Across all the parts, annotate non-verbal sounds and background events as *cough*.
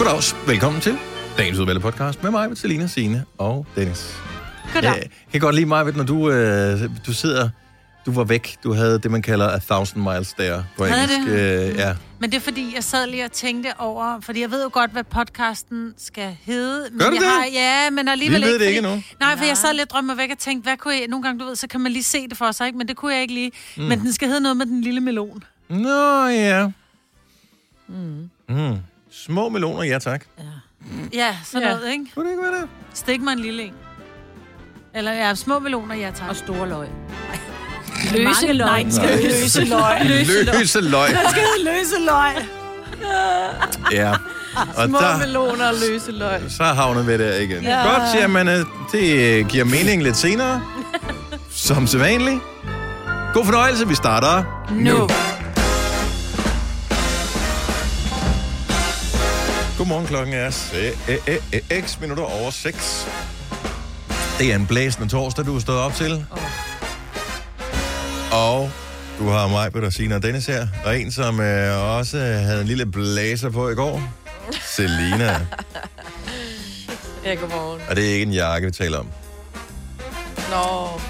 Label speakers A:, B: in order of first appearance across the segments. A: Claus, velkommen til dagens udvalgte podcast med mig, Selina, Signe og Dennis. Øh,
B: Goddag.
A: Jeg kan godt lide mig, når du, øh, du sidder, du var væk, du havde det, man kalder a thousand miles der på
B: Havde
A: engelsk.
B: det?
A: Øh, ja.
B: Men det er fordi, jeg sad lige og tænkte over, fordi jeg ved jo godt, hvad podcasten skal hedde. Men
A: Gør du
B: jeg
A: det?
B: Har, ja, men alligevel
A: Vi ved det
B: ikke.
A: ikke
B: fordi-
A: endnu.
B: Nej, for jeg sad lidt og drømte mig væk og tænkte, hvad kunne jeg... Nogle gange, du ved, så kan man lige se det for sig, ikke? Men det kunne jeg ikke lige. Mm. Men den skal hedde noget med den lille melon.
A: Nå ja. Mm. Mm. Små meloner, ja tak.
B: Ja, sådan
C: Ja.
B: noget, ikke?
A: Kunne det ikke være det?
B: Stik mig en lille en. Eller ja, små meloner, ja tak.
C: Og store løg.
D: Løse
C: Mange løg.
D: løgn.
C: Nej. *laughs* Løse løg.
A: Løse løg.
C: Løse løg.
A: Ja. Og
C: Små
A: der,
C: meloner og løse løg.
A: så havner vi der igen. Ja. Godt, jamen, øh, det øh, giver mening lidt *laughs* senere. Som sædvanligt. God fornøjelse, vi starter nu. nu. Godmorgen, klokken er 6 minutter over 6. Det er en blæsende torsdag, du er stået op til. Og du har mig, Peter Signe og Dennis her. Og en, som øh, også havde en lille blæser på i *laughs* går. Selina.
C: Ja, godmorgen.
A: Og det er ikke en jakke, vi taler om.
C: Nå.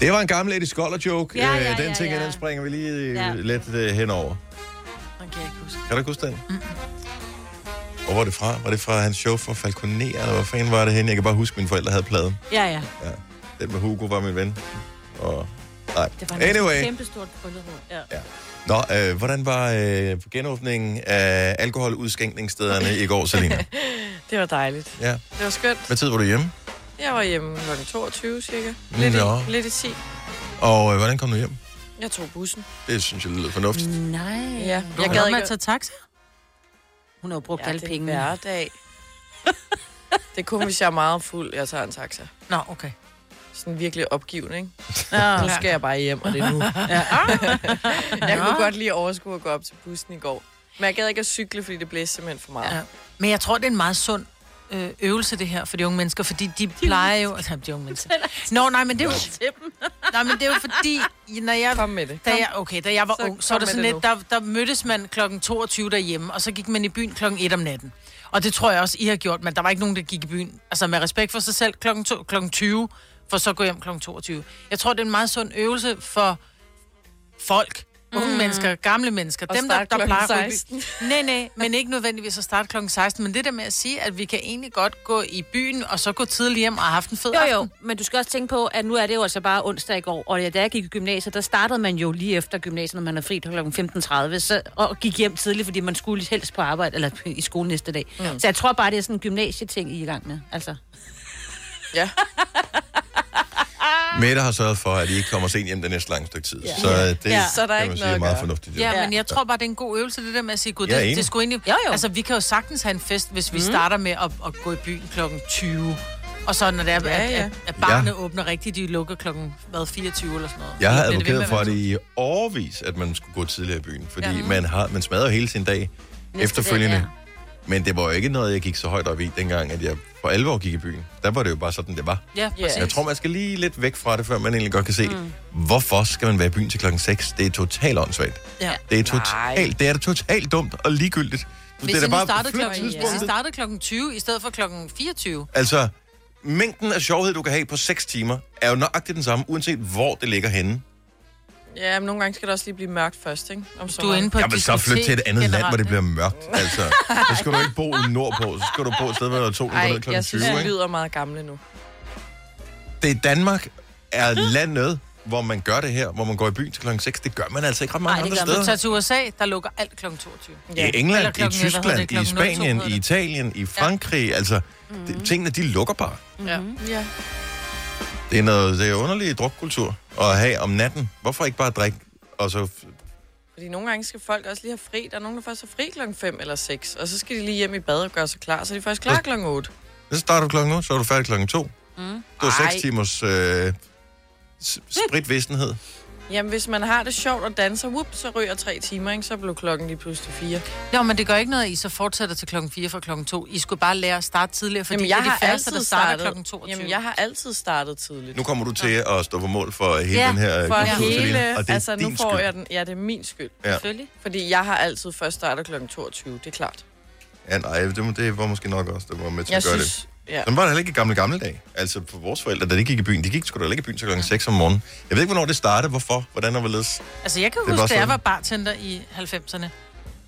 A: Det var en gammel Eddie Skoller joke.
B: Ja, ja,
A: Øh, den
B: ja,
A: ting,
B: ja.
A: den springer vi lige øh,
B: Ja.
A: lidt øh, henover.
C: Den kan jeg ikke huske.
A: Kan du ikke huske den? Og hvor var det fra? Var det fra hans show for Falconer, eller hvor fanden var det henne? Jeg kan bare huske, at mine forældre havde pladen.
C: Ja, ja.
A: Ja. Den med Hugo var min ven. Og... Nej.
C: Det var
A: Anyway.
C: et kæmpestort bryllupråd. Ja.
A: Ja. Nå, øh, hvordan var øh, genåbningen af alkoholudskænkningsstederne i går,
C: *laughs*
A: Selina?
C: Det var dejligt.
A: Ja.
C: Det var skønt.
A: Hvad tid var du hjemme?
C: Jeg var hjemme kl. 22 cirka. Lidt,
A: Mm, Nå.
C: i, lidt i 10.
A: Og øh, hvordan kom du hjem?
C: Jeg tog bussen.
A: Det synes jeg lyder fornuftigt.
D: Nej.
C: Ja. Jeg
B: Gad
C: gad
B: man
C: ikke...
B: tage taxa?
D: Hun har jo brugt
C: Ja,
D: alle
C: det er
D: pengene.
C: hverdag. *laughs* Det er kun, hvis jeg er meget fuld, jeg tager en taxa.
B: Nå, okay.
C: Sådan virkelig opgivende, ikke?
B: Ah.
C: Nu skal jeg bare hjem, og det er nu. Jeg kunne godt lige overskue at gå op til bussen i går. Men jeg gad ikke at cykle, fordi det blæste simpelthen for meget.
B: Ja. Men jeg tror, det er en meget sund øh, øvelse, det her, for de unge mennesker, fordi de plejer jo... Altså, de unge mennesker. Nå, nej, men det er jo... Nej, men det er jo fordi, når jeg...
C: Kom med det.
B: Da jeg, okay, da jeg var
C: Så
B: ung,
C: kom
B: så var der
C: med
B: sådan
C: det
B: lidt, der, der mødtes man kl. 22 derhjemme, og så gik man i byen kl. 1 om natten. Og det tror jeg også, I har gjort, men der var ikke nogen, der gik i byen. Altså med respekt for sig selv kl. 2, kl. 20, for så at gå hjem kl. 22. Jeg tror, det er en meget sund øvelse for folk, unge mm. mennesker, gamle mennesker,
C: Og
B: dem, der,
C: starte
B: der
C: klokken
B: plejer at gå i byen.
C: 16.
B: Nej, nej, men ikke nødvendigvis at starte klokken 16, men det der med at sige, at vi kan egentlig godt gå i byen, og så gå tidligt hjem og have haft en fed
D: Jo, jo,
B: aften.
D: men du skal også tænke på, at nu er det jo altså bare onsdag i går, og ja, da jeg gik i gymnasiet, der startede man jo lige efter gymnasiet, når man er fri kl. 15.30, så, og gik hjem tidligt, fordi man skulle helst på arbejde, eller *laughs* i skole næste dag. Mm. Så jeg tror bare, det er sådan en gymnasieting, I er i gang med. Altså,
C: Ja.
A: Mette har sørget for, at I ikke kommer sent hjem det næste lange stykke tid. Ja. Så øh, det ja.
C: Ja. Så der er
A: kan man
C: ikke
A: sige
C: noget
A: er
C: at
A: meget
C: gøre.
A: fornuftigt.
B: Ja, men jeg tror bare, det er en god øvelse, det der med at sige, gud,
A: Jeg er
B: det,
A: enig.
B: det skulle egentlig...
D: Jo, jo.
B: Altså, vi kan jo sagtens have en fest, hvis vi starter med at, at gå i byen klokken 20. Og så når det er, ja,
C: Ja,
B: ja.
C: ja.
B: at, at barnet
A: Ja.
B: ja. åbner rigtigt, de lukker klokken hvad, 24 eller sådan noget.
A: Jeg har
B: Men det ved
A: advokeret
B: man
A: for
B: vel.
A: det i årvis, at man skulle gå tidligere i byen, fordi ja. man, har, man smadrer jo hele sin dag Næste efterfølgende.
D: dag,
A: Dag, ja. Men det var jo ikke noget, jeg gik så højt op i, dengang at jeg for alvor gik i byen. Der var det jo bare sådan, det var.
B: Ja,
C: Ja.
B: præcis.
A: Jeg tror, man skal lige lidt væk fra det, før man egentlig godt kan se, mm. hvorfor skal man være i byen til klokken 6? Det er totalt åndssvagt.
B: Ja.
A: Det er
C: Nej.
A: totalt, det er da totalt dumt og ligegyldigt. Du,
B: Hvis
A: det er
B: I
A: da
B: nu
A: bare
B: startede
A: flyt
B: klokken, hvis I
A: tidspunktet.
B: startede klokken 20 i stedet for klokken 24.
A: Altså, mængden af sjovhed, du kan have på 6 timer, er jo nøjagtigt den samme, uanset hvor det ligger henne.
C: Ja, men nogle gange skal det også lige blive mørkt først, ikke? Om
B: Du er inde på et
A: Jeg vil så
B: diskotek
A: flytte til et andet land, hvor det
B: generelt,
A: bliver mørkt. Altså, så skal du ikke bo i nordpå, så skal du bo et sted, hvor der er solen går
C: Ej,
A: ned kl.
C: jeg
A: 20.
C: synes, det
A: ikke?
C: lyder meget gamle nu.
A: Det er Danmark er landet, hvor man gør det her, hvor man går i byen til klokken 6. Det gør man altså ikke ret mange
D: Ej, det
A: andre
D: gør man.
A: steder.
B: Så tager til USA, der lukker alt klokken 22.
A: I
B: Eller
A: England, i
B: klokken, hvad hedder det,
A: Tyskland, i
B: klokken 02
A: Spanien,
B: hedder
A: i
B: det.
A: Italien, i Frankrig. Altså, det, tingene, de lukker bare.
C: Ja. Mhm. ja.
A: Det er noget det er underlig drukkultur at have om natten. Hvorfor ikke bare drikke, og så
C: Fordi nogle gange skal folk også lige have fri. Der er nogen, der først har fri klokken 5 eller 6, og så skal de lige hjem i bad og gøre sig klar, så er de først klar klokken 8.
A: Så starter du klokken 8, så er du færdig klokken 2. Mm. Det var
C: Ej.
A: 6 timers øh, s- spritvistenhed.
C: Jamen, hvis man har det sjovt og danser, whoop, så ryger tre timer, ikke? Så blev klokken lige pludselig 4.
B: Nå, men det gør ikke noget, at I så fortsætter til klokken 4 fra klokken 2. I skulle bare lære at starte tidligere, fordi
C: Jamen,
B: jeg
C: jeg
B: det er
C: har
B: de færreste, der
C: altid
B: starter
C: startet
B: klokken 22.
C: Jamen, jeg har altid startet tidligt.
A: Nu kommer du til at stå på mål for hele
B: Ja,
A: den her øh,
C: For
A: kultur, Selina,
C: hele,
A: og det er
C: altså nu
A: din
C: får
A: skyld.
C: jeg den, ja det er min skyld.
A: Ja.
D: selvfølgelig.
C: Fordi jeg har altid først startet kl. 22, det er klart.
A: Ja, nej, det, må- det var måske nok også, det var med til
C: Jeg
A: at gøre
C: synes...
A: det.
C: Ja.
A: Sådan var det heller ikke i gamle, gamle dage. Altså, for vores forældre, da de gik i byen, de gik sgu da heller ikke i byen til klokken 6 om morgenen. Jeg ved ikke, hvornår det startede, hvorfor, hvordan og hvorledes.
B: Altså, jeg kan
A: Det er
B: huske,
A: bare
B: da
A: sådan.
B: jeg var bartender i 90'erne.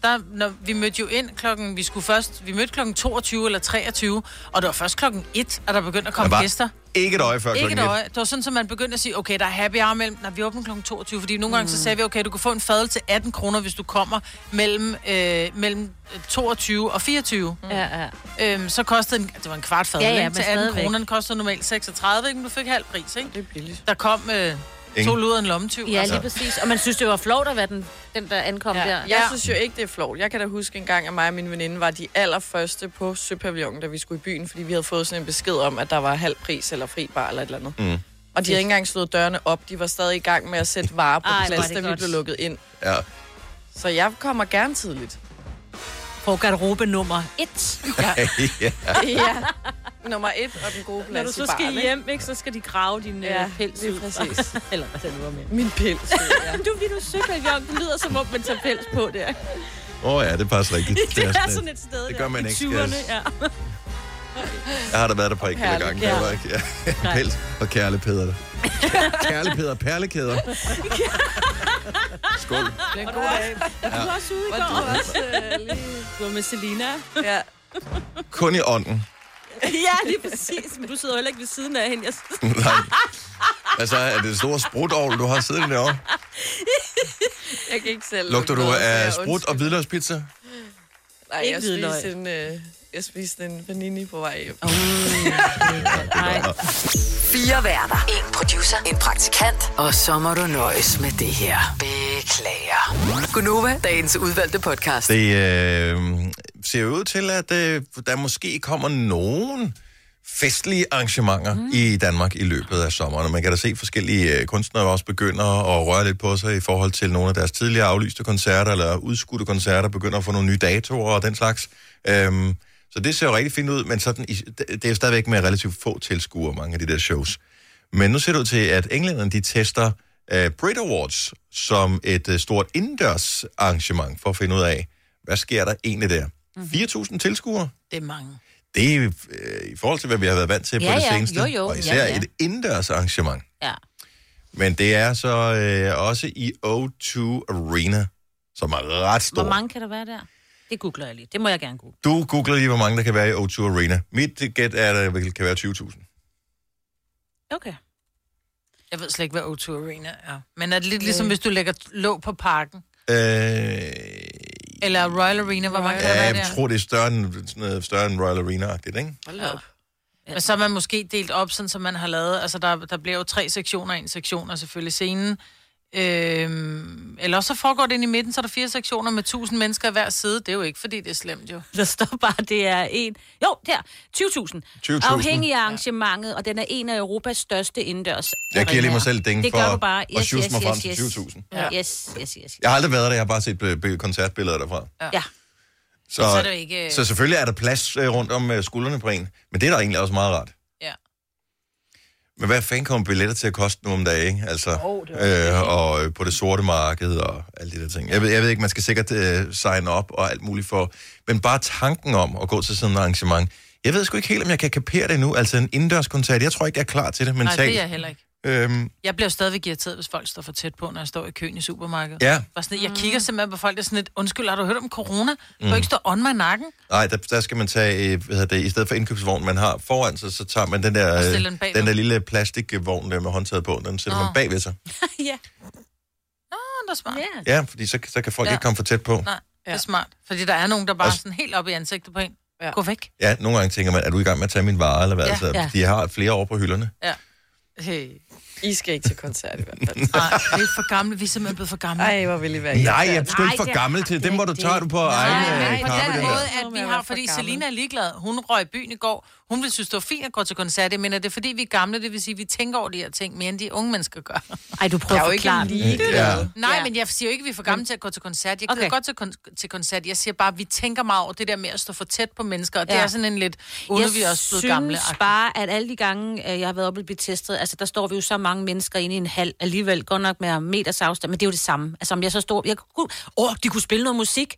B: Der, når vi mødte jo ind klokken, vi skulle først, vi mødte klokken 22 eller 23, og det var først klokken 1, at der begyndte at komme
A: Der var
B: gæster.
A: Ikke et øje før
B: Ikke
A: klokken
B: et
A: 1.
B: øje. Det var sådan, at man begyndte at sige, okay, der er happy hour mellem, når vi åbner klokken 22, fordi nogle
A: Mm.
B: gange så sagde vi, okay, du kan få en fadel til 18 kroner, hvis du kommer mellem, øh, mellem 22 og 24. Mm.
D: Ja, ja.
B: Øhm, så kostede en, det var en kvart fadel,
D: Ja, ja,
B: ikke?
D: men
B: til 18
D: stadigvæk.
B: kroner, den kostede normalt 36, ikke? men du fik halv pris, ikke?
C: Det er billigt.
B: Der kom øh,
A: Ingen.
B: to luder en lommetyv. Altså,
D: Ja, lige præcis. Og man synes, det var flot at være den, den der ankom
C: Ja.
D: der.
C: Jeg synes jo ikke, det er flot. Jeg kan da huske en gang, at mig og min veninde var de allerførste på Søpavillonen, da vi skulle i byen, fordi vi havde fået sådan en besked om, at der var halv pris eller fri bar eller et eller andet. Mm. Og de havde ikke engang slået dørene op. De var stadig i gang med at sætte varer på
D: Ej, hvor er
C: plads,
D: det
C: da vi
D: godt.
C: blev lukket ind.
A: Ja.
C: Så jeg kommer gerne tidligt.
D: På garderobe nummer et.
A: *laughs* ja.
D: *laughs*
C: ja. Nummer et og den gode plads
D: Når du så
C: i baren,
D: skal
C: ikke?
D: hjem, ikke, så skal de grave din ja,
C: Ja,
D: pels
C: lige
D: ud.
C: præcis.
D: *laughs* Eller hvad det nu var med.
C: Min pels. Ja.
D: Du vil du søpavillon, det lyder som om, man tager pels på der.
A: Åh oh, ja, det
C: *laughs*
A: passer rigtigt.
D: *laughs* Det er
A: lidt-
D: sådan et sted
A: det
D: der.
A: gør man
D: I
A: ikke,
D: 20'erne,
A: skal
D: ja.
A: Jeg har da været der på enkelte gange.
C: perlekæder.
A: Ja. Ja. Pels og kærlepæder. kærlepæder, perlekæder. Skål.
C: Det er en god dag.
D: Du var også ude i
C: Var
D: går.
C: du også øh, lige...
D: Du var med Selina.
C: Ja.
A: Kun i ånden.
D: *laughs* ja, lige præcis. Men du sidder jo heller ikke ved siden af hende. Jeg synes,
A: Nej. Altså, er det store sprutovl, du har siddet derovre?
C: Jeg kan ikke selv...
A: Lugter du
C: lugte noget, så
A: af
C: jeg
A: sprut og hvidløgspizza?
C: Nej,
D: Ikke
C: jeg
D: hvidløg.
C: spiste, en, øh, jeg spiste en panini på vej hjem.
E: Fire værter. En producer. En praktikant. Og så må du nøjes med det her. Beklager. Gunova, dagens udvalgte podcast.
A: Det øh, ser jo ud til, at øh, der måske kommer nogen festlige arrangementer mm. i Danmark i løbet af sommeren. Og man kan da se forskellige øh, kunstnere også begynder at røre lidt på sig i forhold til nogle af deres tidligere aflyste koncerter eller udskudte koncerter, begynder at få nogle nye datoer og den slags. Øhm, så det ser jo rigtig fint ud, men sådan, i- det- det er jo stadigvæk med relativt få tilskuere, mange af de der shows. Men nu ser det ud til, at englænderne de tester uh, Brit Awards som et uh, stort indendørs arrangement for at finde ud af, hvad sker der egentlig der?
D: Mhm.
A: 4.000 tilskuere?
B: Det er mange.
A: Det er øh, i forhold til, hvad vi har været vant til
D: Ja,
A: på det
D: ja.
A: seneste.
D: Jo, jo.
A: Og
D: Ja,
A: især
D: ja.
A: et indendørs arrangement.
D: Ja.
A: Men det er så øh, også i O2 Arena, som er ret stor.
D: Hvor mange kan der være der? Det googler jeg lige. Det må jeg gerne google.
A: Du googler lige, hvor mange der kan være i O2 Arena. Mit gæt er, at der kan være 20.000.
D: Okay.
B: Jeg ved slet ikke, hvad O2 Arena er. Men er det lidt ligesom, hvis du lægger låg på parken?
A: Øh,
B: Eller Royal Arena, hvor mange kan der
A: Ja,
B: være
A: jeg
B: der?
A: tror, det er større end, sådan noget, større end Royal Arena-agtigt, ikke?
C: Hold da op.
B: Men så er man måske delt op, sådan som man har lavet. Altså, der, der bliver jo tre sektioner. En sektion er selvfølgelig scenen. Øhm, eller også så foregår det ind i midten, så er der fire sektioner med 1000 mennesker i hver side. Det er jo ikke, fordi det er slemt jo.
D: Der står bare, det er en... Jo, der. 20.000.
A: 20.000.
D: Afhængig af arrangementet, og den er en af Europas største indendørs.
A: Jeg giver lige mig
D: arenaer.
A: selv ding
D: Det
A: for
D: gør du bare.
A: at
D: Yes,
A: sjuse
D: yes,
A: mig frem
D: yes,
A: til
D: yes.
A: 20.000.
D: Ja. Yes, yes, yes.
A: Jeg har aldrig været der, jeg har bare set øh, be- koncertbilleder derfra.
D: Ja.
A: Så,
B: så er det jo ikke-
A: så selvfølgelig er der plads øh, rundt om øh, skuldrene på en, men det er da egentlig også meget rart.
B: Ja.
A: Men hvad fanden kommer billetter til at koste nu om dagen, ikke? Altså, oh, øh, og øh, på det sorte marked og alle de der ting. Jeg ved, jeg ved ikke, man skal sikkert øh, signe op og alt muligt for, men bare tanken om at gå til sådan et arrangement, jeg ved sgu ikke helt, om jeg kan kapere det nu. Altså en indendørskoncert, jeg tror ikke, jeg er klar til det
B: Nej,
A: mentalt.
B: det er jeg heller ikke.
A: Øhm,
B: Jeg bliver stadigvæk irriteret, hvis folk står for tæt på, når jeg står i køen i supermarkedet.
A: ja,
B: Bare sådan, jeg kigger simpelthen på folk, der er sådan lidt, undskyld, har du hørt om corona?
A: Mm.
B: Du kan ikke stå on mig i nakken.
A: nej, der, der skal man tage, øh, hvad hedder det, i stedet for indkøbsvognen, man har foran sig, så tager man den der,
B: Og
A: øh,
B: stiller den bagved.
A: den der lille plastikvogn der med håndtaget på, den sætter
B: Nå.
A: man bagved sig.
D: ja.
B: Nå, det er smart.
D: ja.
A: Ja, fordi så, så kan folk ja.
B: Ja.
A: ikke komme for tæt på.
B: Nej, det er smart. Fordi der er nogen, der bare
A: Og s-
B: er sådan helt op i ansigtet på en.
C: Ja.
B: Gå væk.
A: Ja, nogle gange tænker man, er du i gang med at tage min vare, eller hvad? Ja,
B: Ja,
A: altså, ja.
D: ja.
A: De har flere år på hylderne.
B: Hey.
C: I skal ikke til koncert i hvert fald.
B: Nej, vi er for gamle. Vi er simpelthen blevet for gamle.
C: Ej, hvor vil I være
A: Nej, jeg er
C: irriterende.
A: sgu ikke for
D: det er-
A: gammel til.
D: det
A: Dem
D: er
A: må du
D: det.
A: tage du på
B: Nej,
A: egen
B: men
A: øh,
B: på
A: kappe.
B: den
A: den
B: måde,
A: der.
B: at vi har, fordi Selina er ligeglad. Hun røg i byen i går. Hun ville synes, det var fint at gå til koncert, men er det fordi, vi er gamle, det vil sige, at vi tænker over de her ting mere, end de unge mennesker gør. *laughs*
D: Ej, du
C: Jeg
D: prøver
C: er
D: at
C: jo ikke
D: forklare. den.
C: lige
A: Ja.
B: Nej,
D: Ja.
B: ja. men jeg siger jo ikke, at vi er for gamle til at gå til koncert. Jeg gider
D: Okay.
B: okay. godt til, kon- til koncert. Jeg siger bare, at vi tænker meget over det der med at stå for tæt på mennesker, og det
D: Ja.
B: er sådan en lidt, uden vi er også blevet gamle.
D: synes bare, at alle de gange, øh, jeg har været oppe og blive testet, altså der står vi jo så mange mennesker inde i en hal, alligevel godt nok med meters afstand, men det er jo det samme. Altså om jeg så står, jeg kunne, åh, de kunne spille noget musik.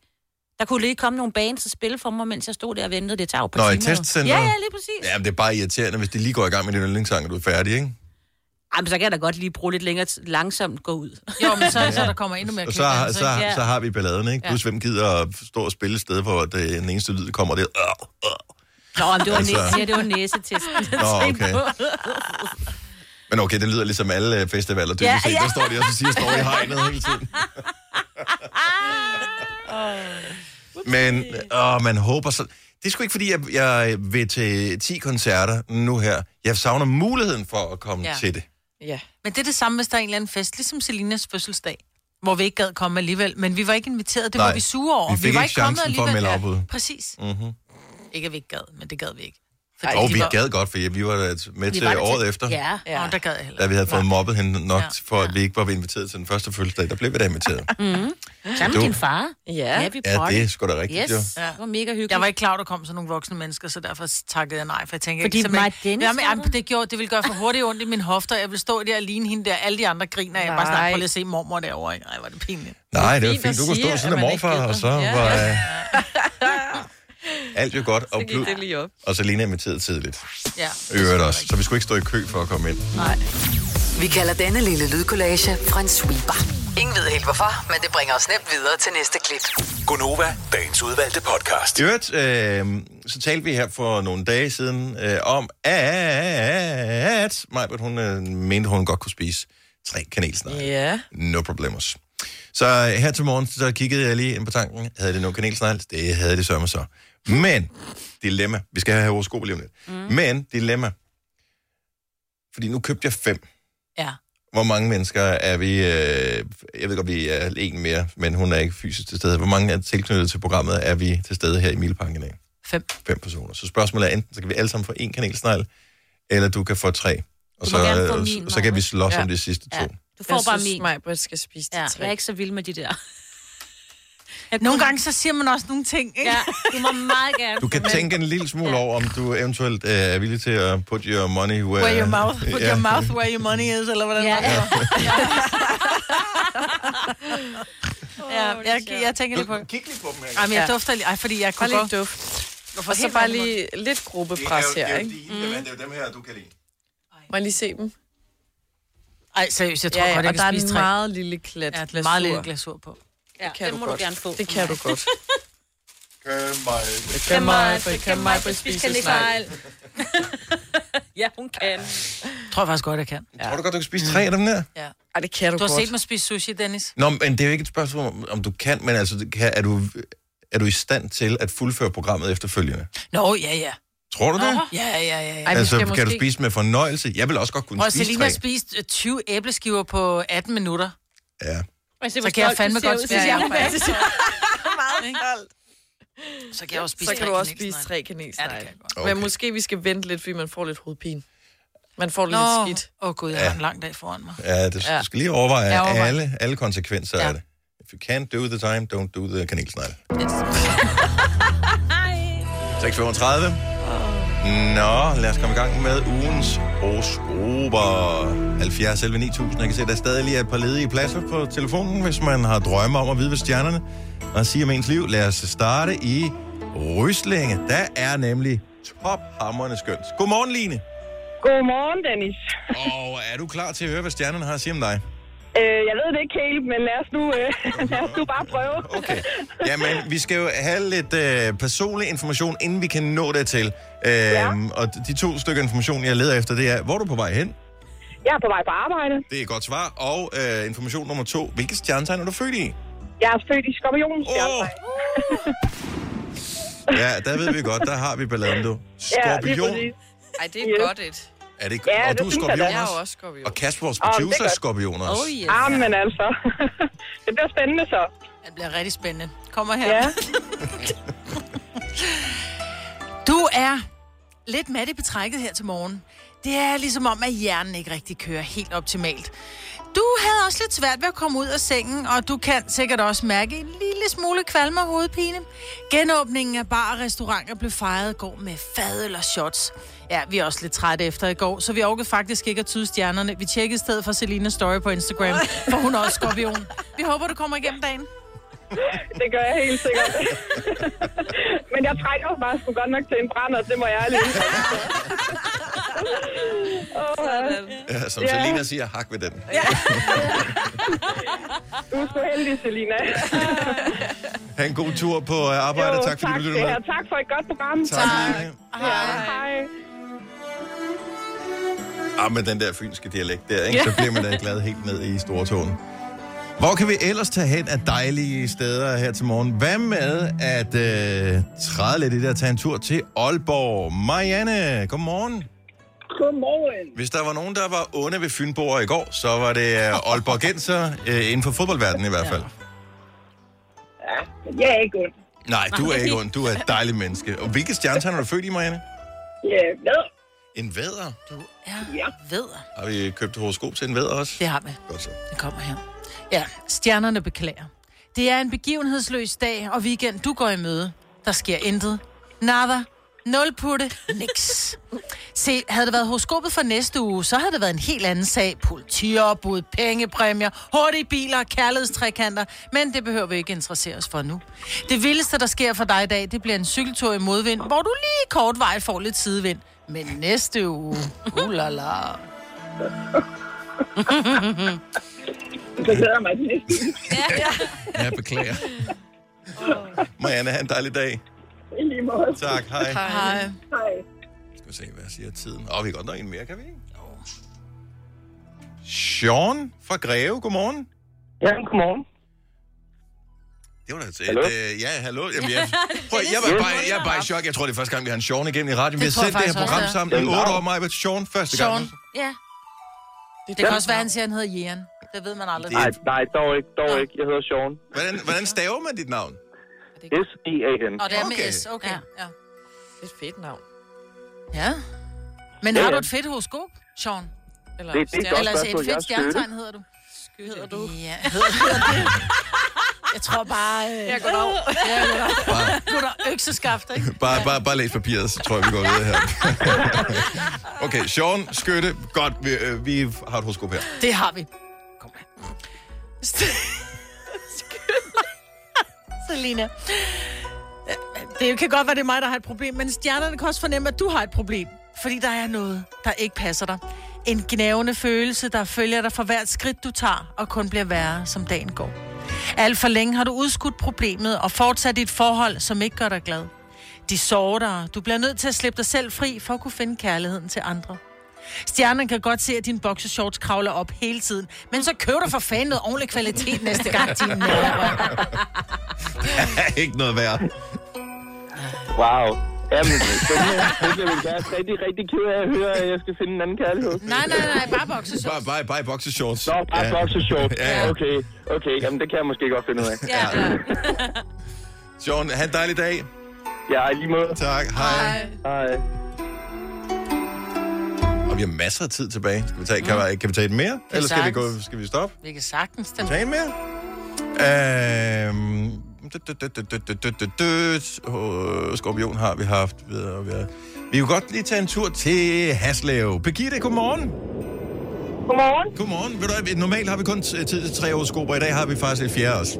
D: Der kunne lige komme nogle bands og spille for mig, mens jeg stod der og ventede. Det tager jo på
A: Nå, i
D: timer. jo.
A: testcenteret?
D: Ja, ja, lige præcis. Ja.
A: Jamen, det er bare irriterende, hvis de lige går i gang med din yndlingssang, og du er færdig, ikke?
D: Jamen, så kan jeg da godt lige bruge lidt længere tid- langsomt gå ud.
B: Jo, men så, så der kommer endnu mere
A: Og så,
B: klip,
A: har-
B: altså,
A: så,
B: ikke?
A: så, så har vi balladen, ikke? Plus, hvem gider at stå og spille et sted, hvor det, den eneste lyd, der kommer, det er... Øh, øh.
D: Nå, men det var,
A: Altså-
D: altså... næse, ja, det var næsetesten. jeg *laughs*
A: Nå,
D: tænkte
A: okay.
D: på.
A: Men okay, det lyder ligesom alle øh, festivaler, dybest
D: Ja,
A: set.
D: ja.
A: Der står de også og siger, står i hegnet hele tiden. Men åh, man håber så... Det er sgu ikke, fordi jeg, jeg vil til 10 koncerter nu her. Jeg savner muligheden for at komme ja.
B: Ja.
A: til det.
C: Ja.
B: Men det er det samme, hvis der er en eller anden fest, ligesom Selinas fødselsdag, hvor vi ikke gad komme alligevel, men vi var ikke inviteret, det
A: Nej,
B: var vi sure over.
A: vi fik
B: var
A: ikke chancen for at melde
B: alligevel.
A: afbud.
B: Ja, præcis. Mm-hmm. Ikke at vi ikke gad, men det gad vi ikke.
C: Ej,
A: Og
B: de
A: vi
B: var-
A: gad godt, for vi var da med
D: Vi
A: til
D: var der
A: året efter.
D: Ja.
B: Ja.
C: ja.
B: Nå, der gad jeg heller.
A: Da vi havde fået mobbet hende nok,
B: Ja.
A: for at vi ikke var inviteret til den første fødselsdag, der blev vi da inviteret.
D: Sammen med
A: Du-
D: din far.
C: Ja.
D: Happy
A: Ja,
D: party.
A: det er sgu da rigtigt,
D: Yes,
A: jo.
D: ja. det var mega hyggeligt.
B: Jeg var ikke klar, over, der kom sådan nogle voksne mennesker, så derfor takkede jeg nej, for jeg tænkte,
D: Fordi
B: jeg kan simpelthen-
D: Maj Dennis
B: Jamen,
D: var
B: jamen,
D: der?
B: det, gjorde, det ville gøre for hurtigt ondt i min hofter, jeg ville stå der og ligne hende der, alle de andre griner, jeg bare
C: Nej.
B: snart på lige at se mormor derovre. ikke? Ej, var det pinligt.
A: Nej, det
C: Det er
A: var
C: fint
A: fint. Du
C: at
A: kunne stå
C: sige,
A: ved siden af
C: at man ikke
A: morfar,
C: gider.
A: og så
C: Ja.
A: var øh, alt jo godt. Og,
C: Så gik det lige op.
A: og Selina inviteret tidligt.
B: Ja.
A: Øvrigt også. Så vi skulle ikke stå i kø for at komme ind.
E: Vi kalder denne lille lydkollage Frans sweeper. Ingen ved helt hvorfor, men det bringer os nemt videre til næste klip.
F: Gunova, dagens udvalgte podcast.
A: I øvrigt, øh, så talte vi her for nogle dage siden øh, om, at Majbert, hun øh, mente, hun godt kunne spise tre kanelsnegle.
C: Ja.
A: No problemos. Så øh, her til morgen, så kiggede jeg lige ind på tanken. Havde det nogen kanelsnegle? Det havde det sørme så. Men, dilemma. Vi skal have horoskop lige om lidt. Mm. Men, dilemma. Fordi nu købte jeg fem.
B: Ja.
A: Hvor mange mennesker er vi... Øh, jeg ved godt, vi er en mere, men hun er ikke fysisk til stede. Hvor mange er tilknyttet til programmet, er vi til stede her i Mileparken i dag?
B: Fem.
A: Fem personer. Så spørgsmålet er, enten så kan vi alle sammen få en kanelsnegl, eller du kan få tre. Og
D: Du
A: så,
D: må gerne få
A: øh,
D: min,
A: så, så kan vi
D: Maja.
A: slås ja. om
C: Ja.
A: de sidste to.
D: Ja.
A: Ja.
D: Du får
C: Jeg
D: bare
C: synes,
D: min.
C: mig, Britt skal spise de
D: Ja,
C: tre.
D: jeg er ikke så vild med de der. Jeg
B: Nogle
D: kunne-
B: gange så siger man også nogle ting, ikke?
D: Ja, du må meget gerne.
A: Du kan tænke en lille smule over, om du eventuelt øh, er villig til at put your money where...
B: Where your mouth, put
A: Ja.
B: your mouth where your money is, eller hvordan
D: Ja,
B: det
D: ja.
B: ja. Jeg, jeg, jeg tænker lidt på det.
A: Kig lige på dem her.
B: Ej, men jeg
C: Ja.
B: dufter lige. Ej, fordi jeg
C: Bare
B: kunne
C: lige
B: godt...
C: duft.
B: Hvorfor
C: Og så
B: helt
C: bare
B: anden
C: lige lidt gruppepres her, ikke?
A: det er jo dem her, du kan lide.
C: Må jeg lige se dem?
B: måde? Ej, seriøst, jeg tror godt,
C: og
B: jeg
C: der
B: kan
C: er
B: spise
C: en
B: tre.
C: meget lille klat
B: Ja,
C: glasur.
B: meget lille glasur på.
D: Ja,
C: Kan
D: den
C: du
D: må
C: godt.
D: du gerne få.
C: Det kan du godt.
A: Køm
C: Kan mig,
D: Britt,
C: kan mig, Britt spise snegl.
B: *laughs*
D: ja, hun kan.
B: Tror jeg faktisk godt, jeg kan.
A: Tror du godt, du kan spise tre af dem der?
B: Ja.
C: Ej, det kan du,
B: Du har
C: godt.
B: set mig spise sushi, Dennis.
A: Nå, men det er jo ikke et spørgsmål, om- om du kan, men altså, det kan, er, du, er du i stand til at fuldføre programmet efterfølgende?
B: Nå, ja, ja.
A: Tror du det?
B: Ja, ja, ja,
C: Ej,
B: ja.
C: vi
A: altså,
C: skal
A: kan måske... du
C: måske-
A: spise med fornøjelse? Jeg vil også godt kunne
B: Prøv,
A: spise
B: Selina
A: tre.
B: har spist øh, 20 æbleskiver på 18 minutter.
A: Ja.
B: Så kan jeg fandme godt spise.
C: Ja,
B: Ja,
C: ja,
B: Så kan jeg også spise
C: Så kan
B: tre
C: du også
B: kanelsnegle.
C: spise tre
B: Ja, det
C: kanelsnegle.
B: kan jeg godt.
A: Okay.
C: Men måske vi skal vente lidt, fordi man får lidt hovedpine. Man får det
B: Nå,
C: lidt skidt.
B: åh oh, gud, jeg har en lang dag foran mig.
A: Ja, det, ja.
C: Ja.
A: du skal lige overveje
B: Jeg
A: ja,
B: overvejer.
A: alle, alle konsekvenser ja.
B: Ja.
A: af det. If you can't do the time, don't do the kanelsnegle. *laughs*
B: Yes.
A: 635. Nå, lad os komme i gang med ugens horoskoper. 70 11 9000. Jeg kan se, der stadig lige er et par ledige pladser på telefonen, hvis man har drømme om at vide, hvad stjernerne og sige om ens liv. Lad os starte i Ryslinge. Der er nemlig tophammerende skønt. Godmorgen, Line.
G: Godmorgen, Dennis.
A: Og er du klar til at høre, hvad stjernerne har at sige om dig?
G: Øh, jeg ved det ikke helt, men lad os nu, øh, *laughs* lad os nu bare prøve.
A: Okay. Jamen, vi skal jo have lidt øh, personlig information, inden vi kan nå dertil. Øh, ja. Og de to stykker information, jeg leder efter, det er, hvor er du på vej hen?
G: Jeg er på vej på arbejde.
A: Det er et godt svar. Og øh, information nummer to, hvilket stjernetegn er du født i?
G: Jeg er født i Skorpionens
A: Åh! Ja, der ved vi godt, der har vi balladen, du. Skorpion.
G: præcis.
C: Ej, det er
G: Yes.
C: godt et.
A: er det ikke?
G: Ja,
A: og
G: det
A: du er
G: synes jeg, det
A: skorpion
G: er.
C: Jeg er jo
A: også.
C: også skorpion.
A: Og Kasper, vores
G: Åh, det er
A: producer, er
G: godt.
A: skorpion også.
D: Oh, yes.
G: Ah, men altså. *laughs* det bliver spændende så.
B: Det bliver rigtig spændende. Kommer her.
G: Ja.
B: Du er lidt mat i betrækket her til morgen. Det er ligesom om, at hjernen ikke rigtig kører helt optimalt. Du havde også lidt svært ved at komme ud af sengen, og du kan sikkert også mærke en lille smule kvalme og hovedpine. Genåbningen af bar og restauranter blev fejret i går med fad eller shots. Ja, vi er også lidt trætte efter i går, så vi orkede faktisk ikke at tyde stjernerne. Vi tjekkede i stedet for Selinas story på Instagram, for hun er også skorpion. Vi håber, du kommer igennem dagen.
G: det gør jeg helt sikkert. *laughs* Men jeg trækker bare sgu godt nok til en brænder, det må jeg lige. Åh,
A: Ja, som
G: Ja.
A: Selina siger, hak ved den.
G: du er så heldig, Selina.
A: *laughs* Ha' en god tur på øh, arbejde.
G: Jo,
A: tak fordi
G: tak, det
A: du lyttede med.
G: her. tak for et godt program.
A: Tak.
G: Ja, hej.
A: Ah, med den der fynske dialekt der, ikke? så bliver man da glad helt ned i stortåen. Hvor kan vi ellers tage hen af dejlige steder her til morgen? Hvad med at øh, træde lidt i det og tage en tur til Aalborg? Marianne, godmorgen.
G: Godmorgen.
A: Hvis der var nogen, der var onde ved Fynborg i går, så var det øh, Aalborgenser, øh, inden for fodboldverdenen i hvert fald.
G: Ja, men jeg er ikke ond.
A: Nej, du er ikke ond. Du er et dejligt menneske. Og hvilke stjernetegn er du født i, Marianne?
G: Ja, ved.
A: En vædder.
B: Du er
G: Ja.
B: vedder.
A: Har vi købt horoskop til en vædder også?
B: Det har vi.
A: Godt så.
B: Det kommer her. Ja, stjernerne beklager. Det er en begivenhedsløs dag og weekend, du går i møde. Der sker intet. Nada. Nul putte. Niks. Se, havde det været horoskopet for næste uge, så havde det været en helt anden sag. Politiopbud, pengepræmier, hurtige biler og kærlighedstrækanter. Men det behøver vi ikke interessere os for nu. Det vildeste, der sker for dig i dag, det bliver en cykeltur i modvind, hvor du lige kort vej får lidt sidevind. Men næste uge, uh ulala.
G: Så glæder jeg mig til næste uge.
A: Jeg beklager. *laughs* Marianne, have en dejlig dag.
G: I lige måde.
A: Tak, hej.
B: Hej.
G: Hej.
A: Skal vi se, hvad siger tiden? Åh, vi kan godt nå en mere, kan vi ikke? Sean fra Greve, godmorgen.
G: Ja, godmorgen.
A: Det var da et,
G: Hallo?
A: øh, ja, hallo. Jamen, jeg, prøv, jeg, var bare, jeg er bare i chok. Jeg tror, det er første gang, vi har en Sean igennem i radioen. Vi har
B: Det tror
A: sendt det
B: jeg
A: her
B: faktisk
A: program
B: også, ja.
A: sammen i
G: Jamen,
A: 8 år,
G: navn.
A: mig med Sean første
B: Sean.
A: gang.
D: Ja.
B: Det kan også være, han siger, han hedder Jæren. Det ved man aldrig.
A: Det-
H: Nej, nej, dog ikke, dog ikke. Jeg hedder Sean.
A: Hvordan, hvordan staver man dit navn?
H: S-E-A-N.
B: Og det er med
A: Okay.
B: S, okay.
D: Ja.
B: Ja.
C: Det er et fedt navn.
B: ja. Men
H: Ja,
B: har
H: ja.
B: du et fedt horoskop, Sean?
C: Eller
H: Det- det er
C: stjerne-
H: godt.
B: Eller altså et
H: spørgsmål. Jeg er
B: fedt stjernetegn
H: skytte.
B: hedder du?
C: hedder du.
B: Ja, *laughs* hedder det. Jeg tror bare... Øh,
C: Jeg går over.
A: Bare,
B: gutter, økseskaft, ikke?
A: bare, bare, bare læs papiret, så tror jeg, vi går
B: *laughs*
A: videre her. okay, Sean, skytte. Godt, vi, øh, vi har et horoskop her.
B: Det har vi. Kom her. *laughs* Selina. Det kan godt være, det er mig, der har et problem, men stjernerne kan også fornemme, at du har et problem. Fordi der er noget, der ikke passer dig. En gnævende følelse, der følger dig for hvert skridt, du tager, og kun bliver værre, som dagen går. Alt for længe har du udskudt problemet og fortsat i et forhold, som ikke gør dig glad. De sårer dig. Du bliver nødt til at slippe dig selv fri for at kunne finde kærligheden til andre. Stjernen kan godt se, at dine boxershorts kravler op hele tiden. Men så køb dig for fanden noget ordentlig kvalitet næste gang, din nærmere.
A: Ikke noget værd.
H: Wow. Jamen, den her, den bliver jeg være rigtig, rigtig ked af at høre, at jeg skal finde en anden kærlighed.
B: Nej, nej, nej, bare boxershorts.
A: Bare, bare, bare i boxershorts.
H: Nå, bare
A: Ja.
H: ja. boxershort.
A: Ja, ja.
H: Okay, okay. Jamen, det kan jeg måske godt finde ud af.
D: Ja.
A: Sean, have en dejlig dag.
H: Ja, i lige måde.
A: Tak, hej.
H: Hej.
A: Og vi har masser af tid tilbage. Skal vi tage, kan, vi, kan vi tage et mere? Eller skal vi, gå,
B: sagtens.
A: skal vi stoppe?
B: Vi kan sagtens den.
A: Tag en mere. Øhm, død, død, død, død, død, død, død, død. Åh, Skorpion har vi haft. videre og videre. Vi kunne godt lige tage en tur til Haslev. Birgitte, godmorgen.
G: Godmorgen.
A: Godmorgen. Ved du, hvad, normalt har vi kun t- tid til tre horoskoper. I dag har vi faktisk et fjerde også.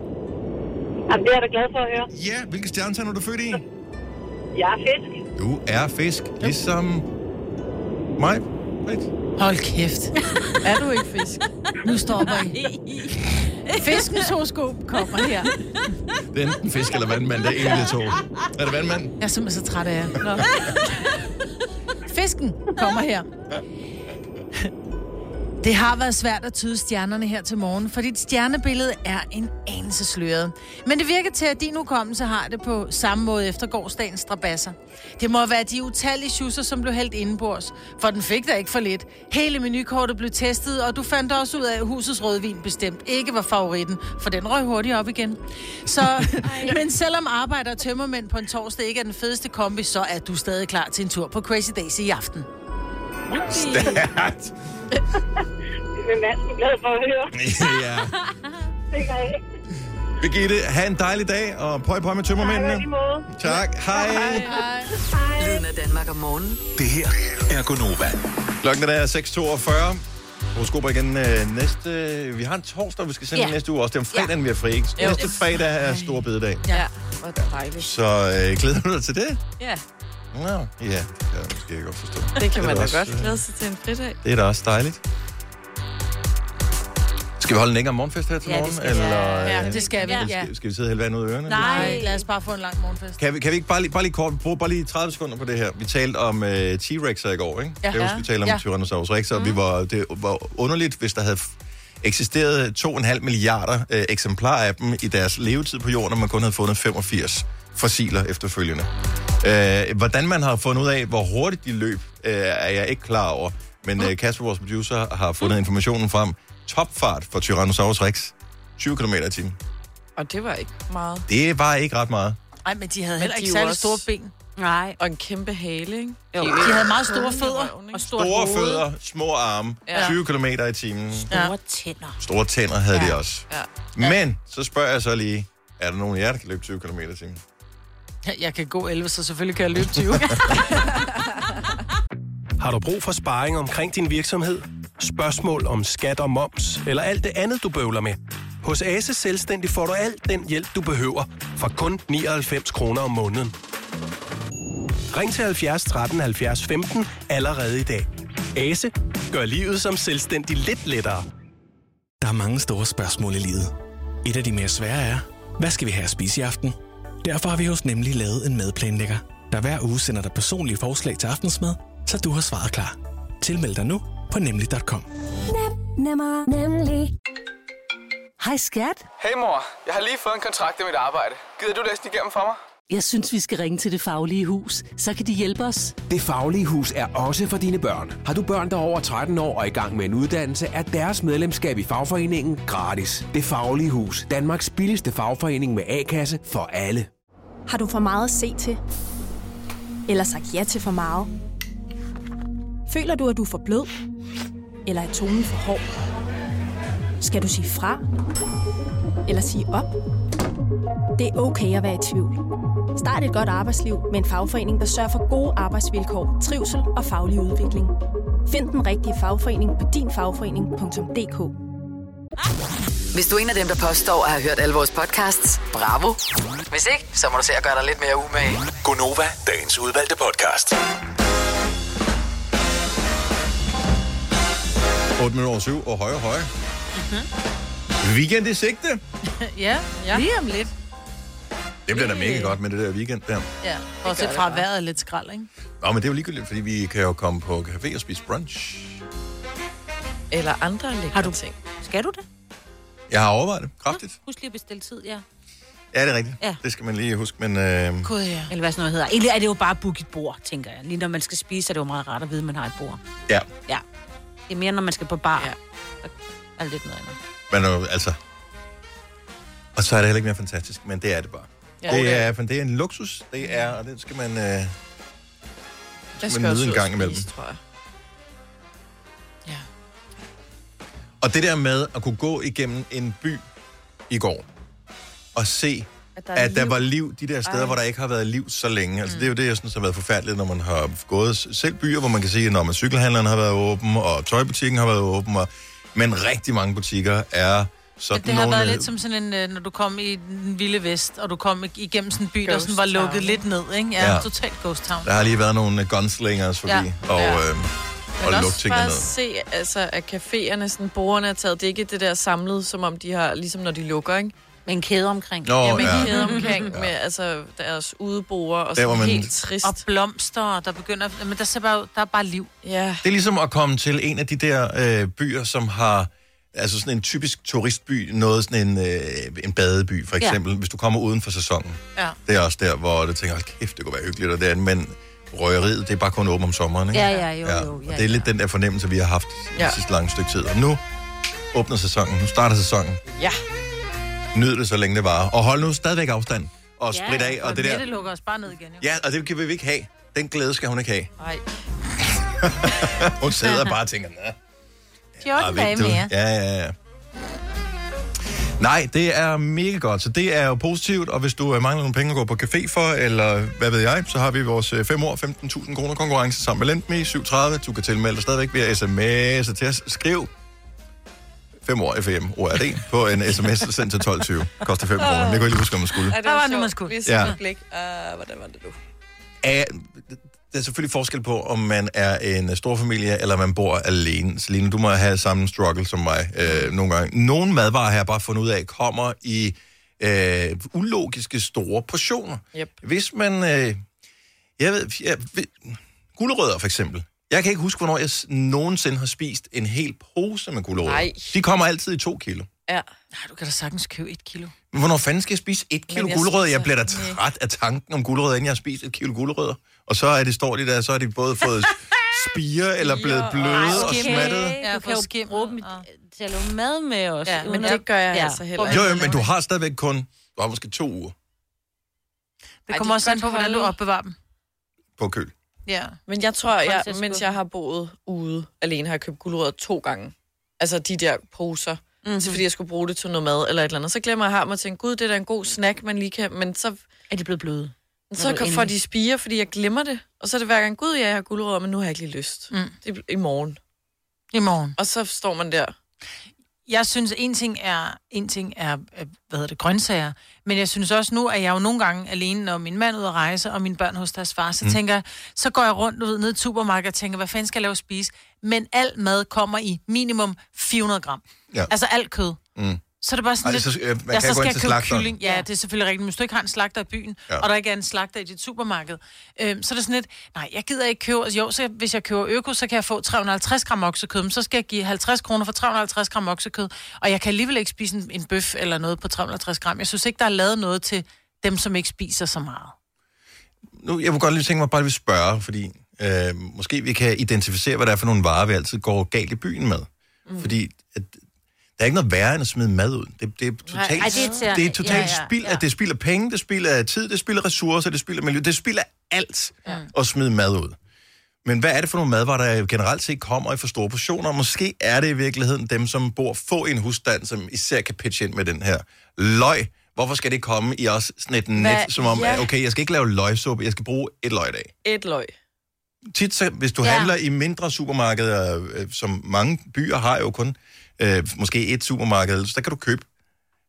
G: Jamen, det er jeg da glad for at høre.
A: Ja, hvilke stjernetegn er du født i?
G: Jeg er fisk.
A: Du er fisk, ligesom mig. Right.
B: Hold kæft.
C: Er du ikke fisk?
B: Nu stopper I. Fiskens horoskop kommer her.
A: Det er enten fisk eller vandmand, det er en af de to. Er det *laughs* vandmand?
B: Jeg er simpelthen så træt af jer. Nå. Fisken kommer her. Det har været svært at tyde stjernerne her til morgen, for dit stjernebillede er en anelse sløret. Men det virker til, at din hukommelse har det på samme måde efter gårdsdagens strabasser. Det må være de utallige schusser, som blev hældt indenbords, for den fik dig ikke for lidt. Hele menukortet blev testet, og du fandt også ud af, at husets rødvin bestemt ikke var favoritten, for den røg hurtigt op igen. Så, men selvom arbejder og tømmermænd på en torsdag ikke er den fedeste kombi, så er du stadig klar til en tur på Crazy Days i aften.
A: Stærkt.
G: Det er Mads, glad for at høre.
A: ja.
G: Det gør jeg.
A: Birgitte, have en dejlig dag, og prøv prøv med tømmermændene.
G: måde.
A: Tak, hej.
E: Lyden af Danmark om morgenen.
F: Det her er Gonova.
A: Klokken er 6.42. horoskoper igen øh, næste... Vi har en torsdag, vi skal sende
D: Ja.
A: ja. næste uge også. Det er om fredagen, ja. vi er fri. Ikke?
C: Jo.
A: Næste fredag er stor bededag.
C: Ja, hvor dejligt.
A: Så øh, glæder du dig til det?
D: Ja.
A: Nå, ja, det kan jeg måske godt forstå.
C: Det kan
A: er
C: man da
A: også,
C: godt
A: øh,
C: glæde sig til en fridag.
A: Det er da også dejligt. Skal vi holde en længere morgenfest her til
D: Ja, det
A: morgen?
D: skal vi.
A: eller, øh,
B: Ja, det skal vi.
D: Ja.
B: Ja.
A: skal, skal vi sidde og hælde vand ud af ørerne?
B: Nej, lad os bare få en lang morgenfest.
A: Kan vi, kan vi ikke bare lige, bare lige kort, vi bruger bare lige 30 sekunder på det her. Vi talte om øh, T-Rex'er i går, ikke?
B: Ja.
A: Jeg husker, vi talte om
B: Ja. Mhm.
A: ja. Tyrannosaurus Rex, og vi var, det var underligt, hvis der havde f- eksisteret 2,5 milliarder øh, eksemplarer af dem i deres levetid på jorden, og man kun havde fundet 85 fossiler efterfølgende. Øh, hvordan man har fundet ud af, hvor hurtigt de løb, øh, er jeg ikke klar over. Men
B: Mhm.
A: øh, Kasper, vores producer, har fundet informationen frem. Topfart for Tyrannosaurus Rex. 20 km i timen.
C: Og det var ikke meget.
A: Det var ikke ret meget.
B: Nej, men de havde heller
C: de
B: ikke
C: er jo
B: særlig
C: også-
B: store ben.
D: Nej.
C: Og en kæmpe hale, ikke?
D: Jo.
B: De havde meget store fødder
C: røven, ikke?
B: og stort
A: Store
B: hoved.
A: fødder, små arme,
C: Ja.
A: 20 km i timen.
D: Store tænder.
A: Store tænder havde
D: Ja.
A: ja. de også.
C: Ja.
A: Men så spørger jeg så lige, er der nogen af jer, der kan løbe 20 km i timen?
B: Jeg kan gå 11, så selvfølgelig kan jeg løbe 20.
F: Har du brug for sparring omkring din virksomhed? Spørgsmål om skat og moms, eller alt det andet, du bøvler med? Hos Ase Selvstændig får du alt den hjælp, du behøver, for kun 99 kroner om måneden. Ring til 70 13 70 15 allerede i dag. Ase gør livet som selvstændig lidt lettere.
I: Der er mange store spørgsmål i livet. Et af de mere svære er, hvad skal vi have at spise i aften? Derfor har vi hos Nemlig lavet en madplanlægger, der hver uge sender dig personlige forslag til aftensmad, så du har svaret klar. Tilmeld dig nu på nemlig.com.
J: Nemmer, nemlig. Hej skat,
K: Hey mor, jeg har lige fået en kontrakt med mit arbejde. Gider du læse den igennem for mig?
J: jeg synes vi skal ringe til Det Faglige Hus. Så kan de hjælpe os.
I: Det faglige hus er også for dine børn. Har du børn, der er over 13 år og i gang med en uddannelse, er deres medlemskab i fagforeningen gratis. Det faglige hus. Danmarks billigste fagforening med A-kasse for alle.
J: Har du for meget at se til? Eller sagt ja til for meget? Føler du, at du er for blød? Eller er tonen for hård? Skal du sige fra? Eller sige op? Det er okay at være i tvivl. Start et godt arbejdsliv med en fagforening, der sørger for gode arbejdsvilkår, trivsel og faglig udvikling. Find den rigtige fagforening på dinfagforening.dk.
E: Hvis du er en af dem, der påstår at have hørt alle vores podcasts, bravo. Hvis ikke, så må du se at gøre dig lidt mere umage.
F: Gonova, dagens udvalgte podcast.
A: 8 minutter over 7 og højere, højere. Weekend i sigte.
B: ja, lige om lidt.
A: Det bliver da mega godt med det der weekend der.
B: Ja, og se fra vejret er lidt skrald, ikke?
A: Nå, men det er jo ligegyldigt, fordi vi kan jo komme på café og spise brunch.
C: *laughs* Eller andre lækre
D: Har du-
C: ting.
D: Skal du det?
A: Jeg har overvejet det kraftigt.
D: Husk lige at bestille tid, ja.
A: Ja, det er rigtigt.
D: Ja.
A: Det skal man lige huske, men... Øh,
B: Gud, ja.
D: Eller hvad sådan noget hedder. Egentlig er det jo bare at booke et bord, tænker jeg. Lige når man skal spise, er det jo meget rart at vide, at man har et bord.
A: ja,
D: Ja. Det er mere, når man skal på bar.
C: Ja.
D: Ja. Er det lidt noget andet.
A: men øh, altså... Og så er det heller ikke mere fantastisk, men det er det bare. Ja, det, er, men det er en luksus, det er, og det skal man... Øh,
C: Jeg
A: nyde
C: også
A: en
C: ud
A: gang
C: og
A: imellem.
C: spise, tror jeg.
A: Og det der med at kunne gå igennem en by i går og se,
C: At der er
A: at der
C: liv.
A: var liv de der steder, Ej. hvor der ikke har været liv så længe. Altså, Det er jo det, jeg synes har været forfærdeligt, når man har gået s- selv byer, hvor man kan se, at når man cykelhandleren har været åben, og tøjbutikken har været åben, og, men rigtig mange butikker er sådan
B: Men det har
A: nogle...
B: været lidt som sådan en, øh, når du kom i den vilde vest, og du kom ig- igennem sådan en by, der
C: Ghost
B: sådan var lukket
C: town.
B: lidt ned, ikke? Ja,
A: Ja.
B: totalt ghost town.
A: Der har lige været nogle øh, gunslingers forbi, ja.
B: Ja.
A: og,
C: Ja.
A: øh,
C: Men
A: og
C: også
A: lugte ting
C: bare
A: ned.
C: at se, altså, at caféerne, sådan, borgerne er taget. Det er ikke det der samlet, som om de har, ligesom når de lukker, ikke?
D: Med en kæde omkring.
A: Nå,
C: Oh, ja, men
A: *laughs* ja.
C: kæde omkring med altså, deres udeboer og
A: Der, hvor
C: sådan
A: man-
C: helt trist.
B: Og blomster, og der begynder... Men der, ser bare, der er bare liv.
C: Ja,
A: Det er ligesom at komme til en af de der øh, byer, som har altså sådan en typisk turistby, noget sådan en, øh, en badeby for eksempel, ja. hvis du kommer uden for sæsonen.
B: Ja.
A: Det er også der, hvor du tænker, hold kæft, det kunne være hyggeligt, og det er, det, men røgeriet, det er bare kun åbent om sommeren, ikke?
D: Ja, ja, jo, jo.
A: og
D: Ja,
A: det er lidt den der fornemmelse, vi har haft ja.
C: Ja.
A: det sidste lange stykke tid. Og nu åbner sæsonen, nu starter sæsonen.
C: ja.
A: Nyd det, så længe det varer. Og hold nu stadigvæk afstand, og sprit af, og det der.
B: Det lukker os bare ned igen, jo.
A: Ja, og det kan vi ikke have. Den glæde skal hun ikke have.
C: Ej.
A: Hun sidder bare og tænker, nej.
B: 14 dage
A: vigtigt.
B: mere.
A: Ah, Ja, ja, ja. Nej, det er mega godt, så det er jo positivt, og hvis du øh, mangler nogle penge at gå på café for, eller hvad ved jeg, så har vi vores øh, 5 år 15.000 kroner konkurrence sammen med Lendme i 7.30. Du kan tilmelde dig stadigvæk via sms'er til os. Skriv 5 år FM ORD på en sms sendt til 12.20. Koster 5 kroner. Det kunne jeg lige huske, om man skulle.
C: Ja, det
B: Der var
C: var
B: nu,
C: sjovt.
B: man skulle.
C: Lige
A: Ja.
C: sådan et blik. Uh, hvordan var det nu?
A: er, der er selvfølgelig forskel på, om man er en øh, stor familie, eller man bor alene. Selina, du må have samme struggle som mig øh, nogle gange. Nogle madvarer har jeg bare fundet ud af, kommer i øh, ulogiske store portioner.
C: Yep.
A: Hvis man... Øh, jeg ved... Jeg, ved gulerødder for eksempel. Jeg kan ikke huske, hvornår jeg s- nogensinde har spist en hel pose med gulerødder.
B: Nej.
A: De kommer altid i to kilo.
C: Ja.
B: Nej, du kan da sagtens købe et kilo.
A: Men Hvornår fanden skal jeg spise et kilo
B: jeg
A: gulerødder?
B: spiser
A: Jeg bliver da
B: ikke.
A: træt af tanken om gulerødder, inden jeg har spist et kilo gulerødder. Og så er det, står de der, så er de både fået spire eller blevet bløde og smattet.
D: Ja, du kan jo bruge dem i- til at lave mad med os.
C: Ja, men
D: uden
C: det
D: at-
C: gør jeg altså heller
A: Jo, jo, men du har stadigvæk kun, du har måske to uger
B: Det kommer også an på, hvordan du opbevarer dem.
A: på køl.
B: Ja.
C: Men jeg tror, jeg,
B: Grøntsagsskuffe.
C: mens jeg har boet ude alene, har jeg købt gulerødder to gange. Altså de der poser. Mm-hmm. Så fordi jeg skulle bruge det til noget mad eller et eller andet. Så glemmer jeg har mig og tænker, gud, det er da en god snack, man lige kan... Men så...
D: Er de blevet bløde?
C: Så
D: Når du
C: kan, får
D: endelig-
C: de spire, fordi jeg glemmer det. Og så er det hver gang, gud, ja, jeg har gulerødder, men nu har jeg ikke lige lyst.
B: Mm.
C: Det er i morgen.
B: I morgen.
C: Og så står man der.
B: Jeg synes, en ting er, en ting er øh, hvad hedder det, grøntsager, men jeg synes også nu, at jeg jo nogle gange alene, når min mand er ude at rejse, og mine børn hos deres far, så
L: Mm.
B: mm. tænker jeg, så går jeg rundt du ved, ned i supermarkedet og tænker, hvad fanden skal jeg lave at spise? Men al mad kommer i minimum 400 gram.
A: Ja.
B: Ja. Altså alt kød.
A: Mm.
B: Så er det bare sådan
A: Ej,
B: lidt...
A: så, øh, man
B: ja,
A: kan
B: så
A: gå
B: skal
A: ind
B: jeg
A: til
B: købe
A: slagteren.
B: kylling. Ja, det er selvfølgelig rigtigt. Men hvis du ikke har en slagter i byen,
A: Ja.
B: ja. og der ikke er en slagter i dit supermarked, øhm, så er det sådan lidt, nej, jeg gider ikke købe... altså, Jo, så hvis jeg køber øko, så kan jeg få 350 gram oksekød, men så skal jeg give 50 kroner for 350 gram oksekød, og jeg kan alligevel ikke spise en, en bøf eller noget på 350 gram. Jeg synes ikke, der er lavet noget til dem, som ikke spiser så meget.
A: Nu, jeg kunne godt lige tænke mig bare at spørge, fordi øh, måske vi kan identificere, hvad det er for nogle varer, vi altid går galt i byen med. Mm. Fordi at, der er ikke noget værre end at smide mad ud. Det, det er
D: Nej,
A: totalt,
D: ej, det er irriterende.
A: det er totalt
D: Ja, ja,
A: spild,
D: ja.
A: at det spilder penge, det spilder tid, det spilder ressourcer, det spilder miljø, det spilder alt
D: Ja.
A: at smide mad ud. Men hvad er det for nogle madvarer, der generelt set kommer i for store portioner? Måske er det i virkeligheden dem, som bor få i en husstand, som især kan pitche ind med den her løg. Hvorfor skal det komme i også sådan et net,
C: Hvad-
A: som om,
C: ja.
A: ja. okay, jeg skal ikke lave løgsuppe, jeg skal bruge et løg i dag?
C: Et løg.
A: tit, så, hvis du ja.
C: Ja.
A: handler i mindre supermarkeder, øh, som mange byer har jo kun, øh, måske et supermarked, så der kan du købe,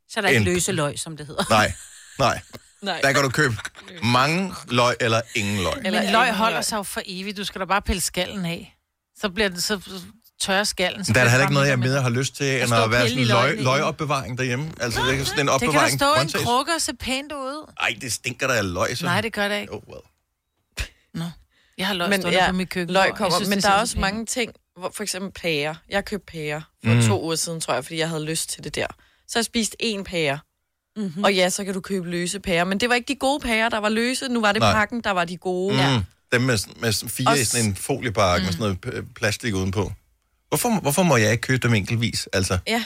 D: Så er der ikke
A: En-
D: løse løg, som det hedder.
A: nej, nej,
C: Nej.
A: der kan du købe mange løg eller ingen løg.
B: Eller men
D: ingen
B: løg
D: løg.
B: holder sig jo for evigt. Du skal da bare pille skallen af. Så bliver den så tørrer skallen. Så
A: Men Der er da
B: bliver
A: heller
B: det
A: ikke noget,
B: bare
A: jeg
B: mindre
A: mere har lyst til, end
B: står
A: at være
B: pille
A: sådan
B: i
A: en
B: løgene.
A: løg, løgopbevaring derhjem. Altså, det er sådan
B: og
A: en
B: mindre. Det kan der
A: opbevaring.
B: stå i en
A: grøntsags.
B: krukke og se pænt ud.
A: Ej, det stinker der af løg, så.
B: Nej, det gør det ikke.
A: Oh, well.
B: Jeg har løg
C: Men
B: stående
C: ja,
B: på mit køkken.
C: løg kommer, synes, men der er også mange ting, hvor for eksempel pærer. Jeg købte pærer for
B: Mm.
C: mm. to uger siden, tror jeg, fordi jeg havde lyst til det der. Så har jeg spist én pære. Mm-hmm. Og ja, så kan du købe løse pærer. Men det var ikke de gode pærer, der var løse. Nu var det
A: Nej.
C: Nej. pakken, der var de gode.
A: Mm, ja. Dem med, sådan- med sådan fire i
C: Og s-
A: sådan en foliepakke mm. med sådan noget p- øh, plastik udenpå. Hvorfor, hvorfor må jeg ikke købe dem enkeltvis? Altså,
C: Ja.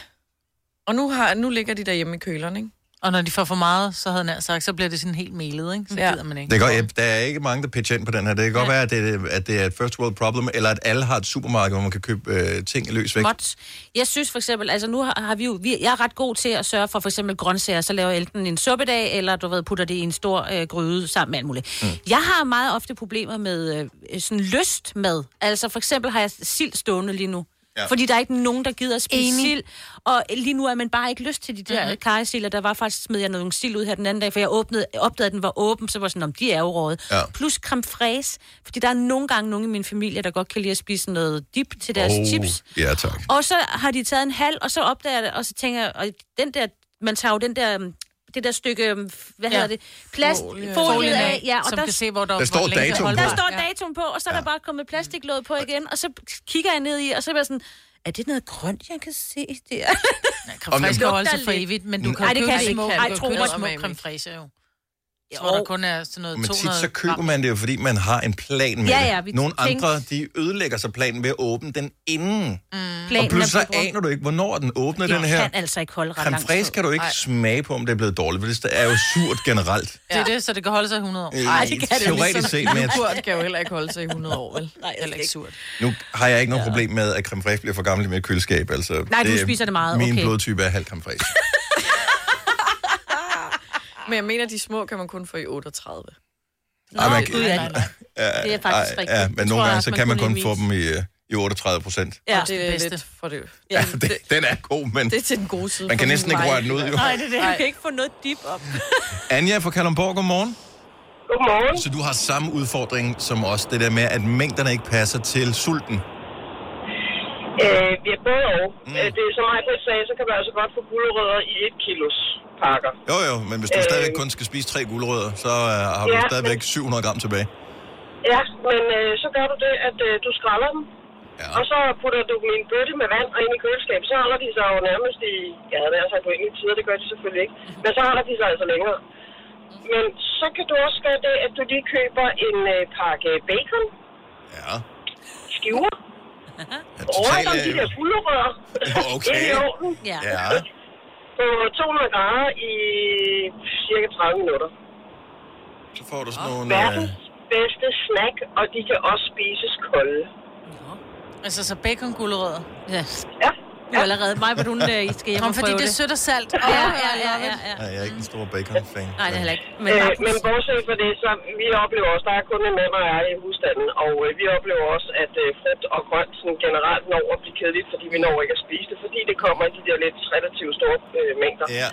C: Og nu, har, nu ligger de derhjemme i køleren, ikke?
B: Og når de får for meget, så havde han sagt, så bliver det sådan helt melet, ikke? Så ja. gider man ikke.
A: Det kan, godt- ja, der er ikke mange, der pitcher ind på den her. Det kan godt være, at det, at det er et first world problem, eller at alle har et supermarked, hvor man kan købe øh, ting løs væk.
D: Småt. Jeg synes for eksempel, altså nu har, har vi jo, vi, jeg er ret god til at sørge for for eksempel grøntsager, så laver jeg enten en suppedag, eller du ved, putter det i en stor øh, gryde sammen med alt muligt. Mm. Jeg har meget ofte problemer med øh, sådan lyst med. Altså for eksempel har jeg sild stående lige nu.
L: Ja.
D: Ja. Fordi der er ikke nogen, der gider at spise
L: Enig.
D: sild. Og lige nu er man bare ikke lyst til de der mm-hmm. karrisild, og der var faktisk, smed jeg nogle sild ud her den anden dag, for jeg åbnede, opdagede, at den var åben, så var jeg sådan, om de er overrådet.
L: Ja.
D: Ja. Plus creme fraise, fordi der er nogle gange nogle i min familie, der godt kan lide at spise noget dip til deres
A: Oh,
D: chips.
A: Ja, tak.
D: Og så har de taget en halv, og så opdager jeg det, og så tænker jeg, og den der, man tager jo den der, øhm, det der stykke, øhm, hvad
B: Ja.
D: hedder det, plast,
B: Folie.
D: foliet
B: Folien
D: af,
B: af,
D: ja, og
B: så man
D: der,
B: kan se, hvor der-
A: Der står hvor længe det datoen holder. på.
D: Der står datoen på, og så er der bare kommet plastiklåd på igen, og så kigger jeg ned i, og så er jeg sådan, er det noget grønt, jeg kan se der?
A: Om
B: Creme
A: det-
B: skal holde sig for evigt, men du kan jo
D: Ej, det
B: købe
D: kan det
B: små,
D: ikke.
B: Ej,
D: Ej,
B: du
D: tro
B: kan købe
D: mig,
B: små
D: smag
B: creme fraiche, jo. Jeg tror, der kun er sådan noget
A: Men
B: 200
A: tit så køber man det jo, fordi man har en plan med
B: Ja,
A: det.
B: ja, vi
A: Nogle
B: tænkte-
A: andre, de ødelægger sig planen ved at åbne den inden. Mm.
D: Planen
A: Og
D: er
A: pludselig så
D: blevet brugt.
A: aner du ikke, hvornår den åbner
D: Jeg
A: den her.
D: kan altså ikke holde ret
A: Creme
D: lang
A: fraise
D: tid.
A: kan du ikke
D: Ej.
A: smage på, om det er blevet dårligt, for det er jo surt generelt.
B: Det er det, så det kan holde sig i 100 år.
A: Øh, Ej, det kan
C: ligesom-
A: det teoretisk ikke. set, men
B: *laughs*
A: jeg-
C: Kurt kan jo heller ikke holde sig i 100 år, vel?
D: Nej,
C: heller ikke surt.
A: Nu har jeg ikke noget ja. problem med, at creme fraiche bliver for gammel i mit køleskab. Altså,
C: Nej, du spiser det meget,
A: Min
C: okay.
A: blodtype er halv creme fraiche.
C: Men jeg mener, de små kan man kun få i 38.
A: Ej, man
C: Nå,
A: kan-
C: gud, ja.
A: Ja,
C: Det er faktisk
A: ej,
C: rigtigt. *laughs*
A: Ja,
C: Det
A: men
C: tror
A: nogle
C: jeg
A: gange,
C: også,
A: så
C: man
A: kan man
C: kun
A: kun
C: lige
A: få dem i, øh, i i 38 procent.
C: Ja, og det er lidt for det.
A: *laughs* Ja, det, den er god, men
C: Det er til den gode side.
A: man
C: for
A: kan
C: min
A: næsten ikke
C: vej.
A: røre den ud, jo.
D: Nej, det er det. Du kan ikke få noget dip op.
A: Anja fra Kalundborg, godmorgen.
G: Godmorgen.
A: Så du har samme udfordring som os, det der med, at mængderne ikke passer til sulten.
G: Øh, ja, både og. Mm. Det er som mig på sagde, så kan man altså godt få gulerødder i et kilos pakker.
A: Jo, jo, men hvis du
G: Øh.
A: øh... stadigvæk kun skal spise tre gulerødder, så øh, har du
G: Ja,
A: ja,
G: men-
A: stadigvæk 700 gram tilbage.
G: Ja, men øh, så gør du det, at øh, du skræller dem. Ja. Og så putter du dem i en bøtte med vand og ind i køleskabet. Så holder de sig jo nærmest i... Ja, det er altså på en tider, det gør de selvfølgelig ikke. Men så holder de sig altså længere. Men så kan du også gøre det, at du lige køber en øh, pakke bacon.
A: Ja.
G: Skiver. Over om de der gulerødder.
A: *laughs* Okay.
G: Ind i ovnen.
D: Ja.
A: øh, Ja.
G: På 200 grader i cirka 30 minutter.
A: Så får du sådan nogle... Øh...
G: Verdens bedste snack, og de kan også spises kolde.
B: Altså, så bacon gulerødder.
D: Ja.
G: ja.
D: Du er allerede mig, hvor du øh, I skal hjem
B: Kom,
D: og
B: fordi
D: prøve
B: det er sødt og salt.
D: Ja, ja, ja, ja, ja.
A: Nej, jeg er ikke en stor bacon-fan.
D: Nej, det er heller ikke.
G: Men, øh, men bortset fra det, så vi oplever også, der er kun en mand og jeg i husstanden, og øh, vi oplever også, at øh, frugt og grønt sådan generelt når at blive kedeligt, fordi vi når ikke at spise det, fordi det kommer i de der lidt relativt store øh, mængder.
A: Ja.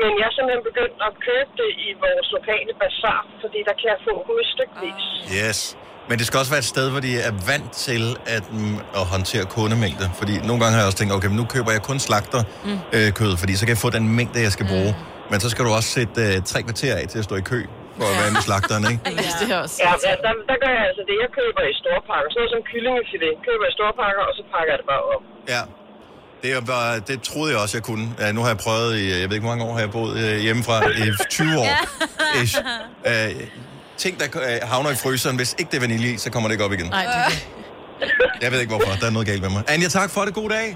G: Men jeg er simpelthen begyndt at købe det i vores lokale bazar, fordi der kan jeg få udstykvis.
A: Yes. Men det skal også være et sted, hvor de er vant til at, mm, at håndtere kundemængde. Fordi nogle gange har jeg også tænkt, okay, men nu køber jeg kun slagter mm. øh, kød, fordi så kan jeg få den mængde, jeg skal bruge. Mm. Men så skal du også sætte øh, tre kvarter af til at stå i kø for at være med slagteren, ikke?
C: *laughs* Ja. Det er også.
G: Ja, ja der, der gør jeg altså det. Jeg køber i store pakker, sådan noget som kyllingefilet. Køber jeg i store pakker, og så pakker jeg det bare op.
A: Ja. Det, var, det troede jeg også, jeg kunne. Ja, nu har jeg prøvet i, jeg ved ikke, hvor mange år har jeg boet øh, hjemmefra, i 20 år. Ish. Øh, ting, der øh, havner i fryseren, hvis ikke det er vanilje i, så kommer det ikke op igen.
B: Nej, det er det.
A: Jeg ved ikke, hvorfor. Der er noget galt med mig. Anja, tak for det. God dag.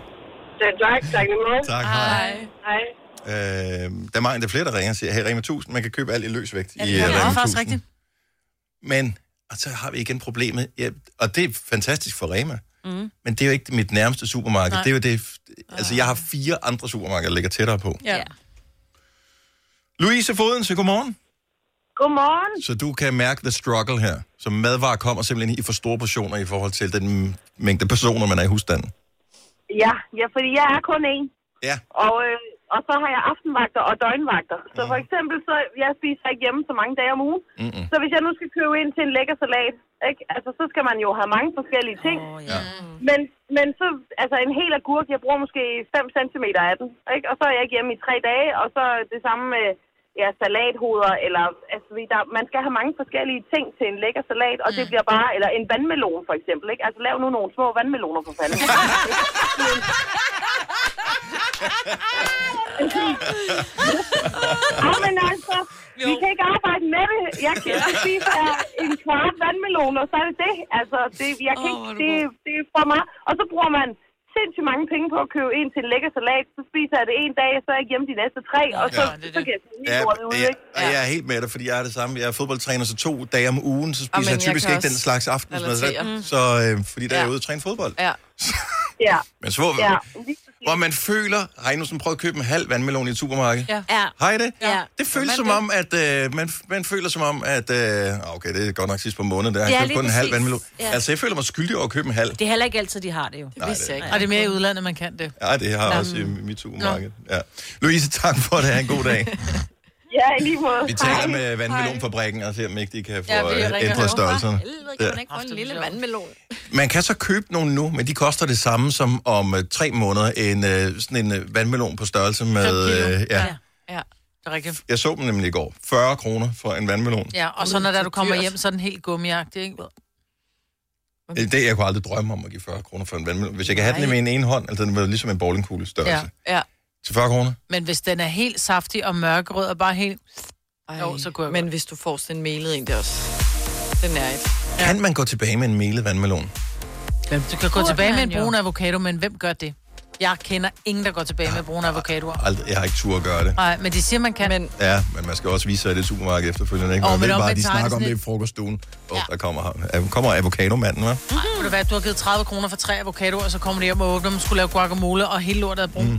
G: Så tak, tak lige meget.
A: Tak, hej.
G: Hej.
A: Øh, der er mange, der er flere, der ringer og siger, hey, Rema 1000, man kan købe alt i løsvægt ja, i
B: Ja,
A: øh,
B: det er
A: Rema
B: faktisk
A: 1000.
B: rigtigt.
A: Men, og så har vi igen problemet, ja, og det er fantastisk for Rema, mm. men det er jo ikke mit nærmeste supermarked.
B: Nej. Ah.
A: Det er jo det, altså jeg har fire andre supermarkeder, der ligger tættere på.
B: Ja.
A: Louise Foden, så godmorgen.
L: Godmorgen.
A: Så du kan mærke the struggle her. Så madvarer kommer simpelthen i for store portioner i forhold til den mængde personer, man er i husstanden.
L: Ja, ja, fordi jeg er kun en.
A: Ja.
L: Og, øh, og så har jeg aftenvagter og døgnvagter. Så for eksempel, så jeg spiser ikke hjemme så mange dage om ugen.
A: Mm-mm.
L: Så hvis jeg nu skal købe ind til en lækker salat, ikke? Altså, så skal man jo have mange forskellige ting. Oh,
A: ja.
L: men, men så, altså en hel agurk, jeg bruger måske 5 cm af den, ikke? Og så er jeg ikke hjemme i tre dage, og så det samme med ja, salathoveder, eller, altså, fordi der, man skal have mange forskellige ting til en lækker salat, og det bliver bare, eller en vandmelon for eksempel, ikke? Altså, lav nu nogle små vandmeloner for
F: *laughs*
L: fanden. Ja, men altså, vi kan ikke arbejde med det. Jeg kan ikke spise øh, en kvart vandmelon, og så er det det. Altså, det, jeg kan ikke, det, det er for meget. Og så bruger man sindssygt mange penge på at købe ind til en lækker salat. Så spiser jeg det en dag, og så er jeg ikke hjemme de næste tre, og så, så kan jeg sådan lige
A: Ja,
L: lortet ud,
A: jeg,
L: ikke?
A: og jeg er helt med dig, fordi jeg er det samme. Jeg er fodboldtræner, så to dage om ugen, så
L: Amen,
A: spiser Amen, jeg
L: jeg
A: typisk
L: kan
A: ikke den
L: også
A: slags aftensmad.
L: relatere.
A: Så, så, øh, fordi der ja. er
L: Ja.
A: jeg ude og træne fodbold.
L: Ja. Ja.
A: Men så,
L: Ja.
A: ja. hvor man føler, har I nu sådan prøvet at købe en halv vandmelon i et supermarked?
L: Ja.
A: Har I det?
D: Ja.
A: Det føles som om, at øh, man, man føler som om, at... Øh, okay, det er godt nok sidst på måneden, der har
D: Ja,
A: jeg købt
D: lige
A: kun en halv
D: præcis.
A: vandmelon.
D: Ja.
A: Ja. Altså, jeg føler mig skyldig over at købe en halv.
D: Det er heller ikke altid, de har det jo.
A: Nej, vidste det- jeg ikke.
B: Og det er mere i udlandet, man kan det.
A: Ja, det har jeg også i mit supermarked. Ja. Louise, tak for det. Ha' en god
L: *laughs*
A: dag.
L: Ja, i lige måde.
A: Vi
L: Hej.
A: taler med vandmelonfabrikken og ser, om ikke de kan få
L: Ja, vi
A: ja,
L: ringer
A: ændret
L: derovre.
A: størrelserne. Ja.
M: ikke få en lille vandmelon?
A: Man kan så købe nogle nu, men de koster det samme som om øh, tre måneder en øh, sådan en øh, vandmelon på størrelse med... Øh, ja.
B: ja. Det er rigtigt.
A: Jeg så dem nemlig i går. 40 kroner for en vandmelon.
B: Ja, og så når der, du kommer hjem, så er den helt gummiagtig, ikke?
A: Det, jeg kunne aldrig drømme om at give 40 kroner for en vandmelon. Hvis jeg kan have den
B: Nej.
A: med en ene hånd, altså den var ligesom en bowlingkugle størrelse.
B: Ja,
A: Ja.
B: ja.
A: Til 40 kroner?
B: Men hvis den er helt saftig og mørkerød og bare helt... Ej, jo, så kunne jeg
C: Men hvis du får sådan en melet en, det er også... Den er et.
A: Ja. Kan man gå tilbage med en melet vandmelon?
B: Du kan gå tilbage med en brun avocado, men hvem gør det? Jeg kender ingen, der går tilbage med brune avocadoer.
A: Aldrig, jeg har ikke tur at gøre det.
B: Nej, men de siger, man kan. Men,
A: Ja, men man skal også vise sig i det supermarked efterfølgende. Ikke?
B: Åh, men
A: Oh, men det er bare,
B: omvendt
A: de
B: så har de
A: snakker om
B: sådan
A: det i
B: et-
A: frokoststuen. Åh, oh, der kommer, ham. kommer avocadomanden, hva'?
B: Nej, ved du hvad, du har givet 30 kroner for tre avocadoer, og så kommer de hjem og åbner dem, skulle lave guacamole, og hele lortet er brunt. Mm.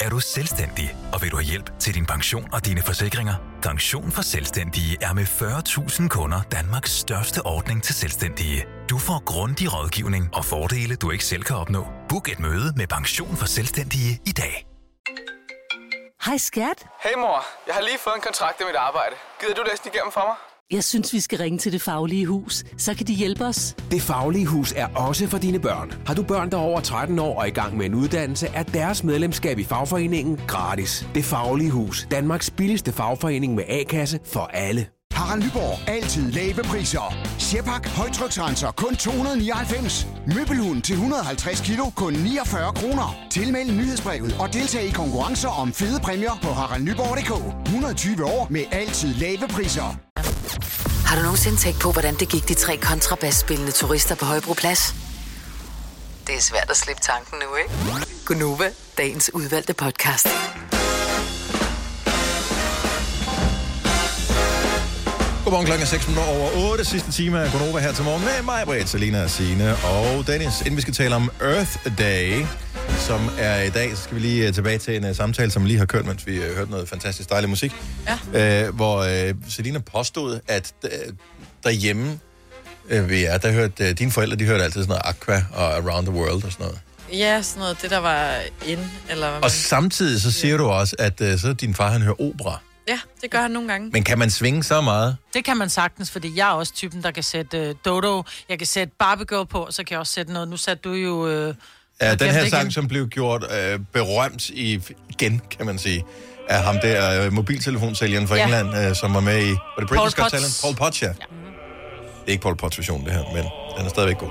M: Er du selvstændig, og vil du have hjælp til din pension og dine forsikringer? Pension for Selvstændige er med 40.000 kunder Danmarks største ordning til selvstændige. Du får grundig rådgivning og fordele, du ikke selv kan opnå. Book et møde med Pension for Selvstændige i dag.
N: Hej skat.
K: Hey mor, jeg har lige fået en kontrakt med mit arbejde. Gider du læse den igennem for mig?
N: Jeg synes, vi skal ringe til Det Faglige Hus. Så kan de hjælpe os.
O: Det Faglige Hus er også for dine børn. Har du børn, der er over 13 år og i gang med en uddannelse, er deres medlemskab i fagforeningen gratis. Det Faglige Hus. Danmarks billigste fagforening med A-kasse for alle.
P: Harald Nyborg. Altid lave priser. Sjehpak. Højtryksrenser. Kun 299. Møbelhund til 150 kilo. Kun 49 kroner. Tilmeld nyhedsbrevet og deltag i konkurrencer om fede præmier på haraldnyborg.dk. 120 år med altid lave priser.
E: Har du nogensinde tænkt på, hvordan det gik de tre kontrabasspillende turister på Højbroplads? Det er svært at slippe tanken nu, ikke? Gunova, dagens udvalgte podcast.
A: Godmorgen klokken er 6 minutter over 8. Sidste time er Gunova her til morgen med mig, Britt, Selina, Signe og Dennis. Inden vi skal tale om Earth Day, som er i dag, så skal vi lige øh, tilbage til en uh, samtale, som vi lige har kørt, mens vi uh, hørte noget fantastisk dejlig musik. Ja. Uh, hvor uh, Selina påstod, at uh, derhjemme uh, ved jer, der hørte uh, dine forældre, de hørte altid sådan noget Aqua og Around the World og sådan noget.
C: Ja, sådan noget, det der var in, eller hvad man...
A: Og samtidig så siger du også, at uh, så din far, han hører opera.
C: Ja, det gør han nogle gange.
A: Men kan man svinge så meget?
B: Det kan man sagtens, fordi jeg er også typen, der kan sætte øh, Dodo, jeg kan sætte Barbie Girl på, så kan jeg også sætte noget. Nu satte du jo... Øh,
A: Ja,
B: jeg
A: den
B: glemte
A: her
B: ikke
A: sang,
B: en-
A: som blev gjort øh, berømt i, igen, kan man sige, af ham der øh, mobiltelefonsælgeren fra
B: Ja.
A: England, øh, som var med i... Var det British Got
B: Potts.
A: Talent? Paul Potts, ja. ja. Det er ikke Paul Potts version, det her, men den er stadigvæk god.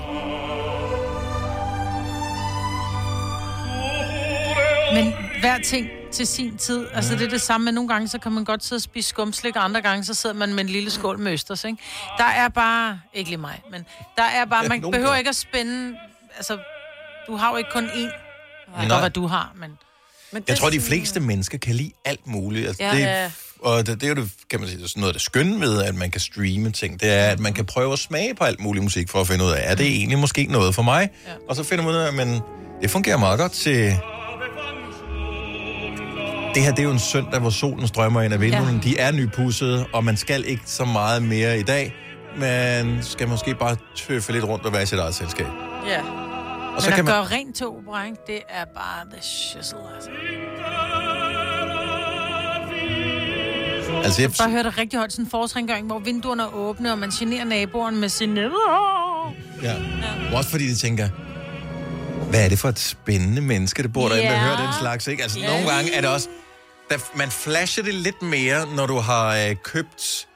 B: Men hver ting til sin tid. Altså, det er det samme, men nogle gange, så kan man godt sidde og spise skumslik, og andre gange, så sidder man med en lille skål med østers, ikke? Der er bare, ikke lige mig, men der er bare,
Q: Ja,
B: man
Q: nogen
B: behøver
Q: gør.
B: ikke at spænde, altså, du har jo ikke kun én,
A: Nej.
B: og hvad du har, men... men
A: Jeg tror, de fleste mennesker kan lide alt muligt. Altså,
B: Ja.
A: ja. det,
B: Ja.
A: er- og det, det er jo det, kan man sige, det er sådan noget af det skønne ved, at man kan streame ting. Det er, at man kan prøve at smage på alt mulig musik for at finde ud af, er det egentlig måske noget for mig? Ja. Og så finder man ud af, men det fungerer meget godt til... Det her, det er jo en søndag, hvor solen strømmer ind af vinduerne. Ja. De er nypudsede, og man skal ikke så meget mere i dag. Man skal måske bare tøffe lidt rundt og være i sit eget selskab.
B: Ja. Og
A: så
B: så men
A: kan
B: kan at
A: man-
B: gøre rent til opera, ikke? det er bare the shizzle, altså.
A: Altså, jeg-
B: Bare hørte rigtig højt sådan en forårsrengøring, hvor vinduerne er åbne, og man generer naboen med sin nedår.
A: Ja. Også fordi de tænker, hvad er det for et spændende menneske, der bor derinde, der
B: Ja.
A: hører den slags, ikke? Altså,
B: Ja.
A: nogle gange er det også... Der, man flasher det lidt mere, når du har øh, købt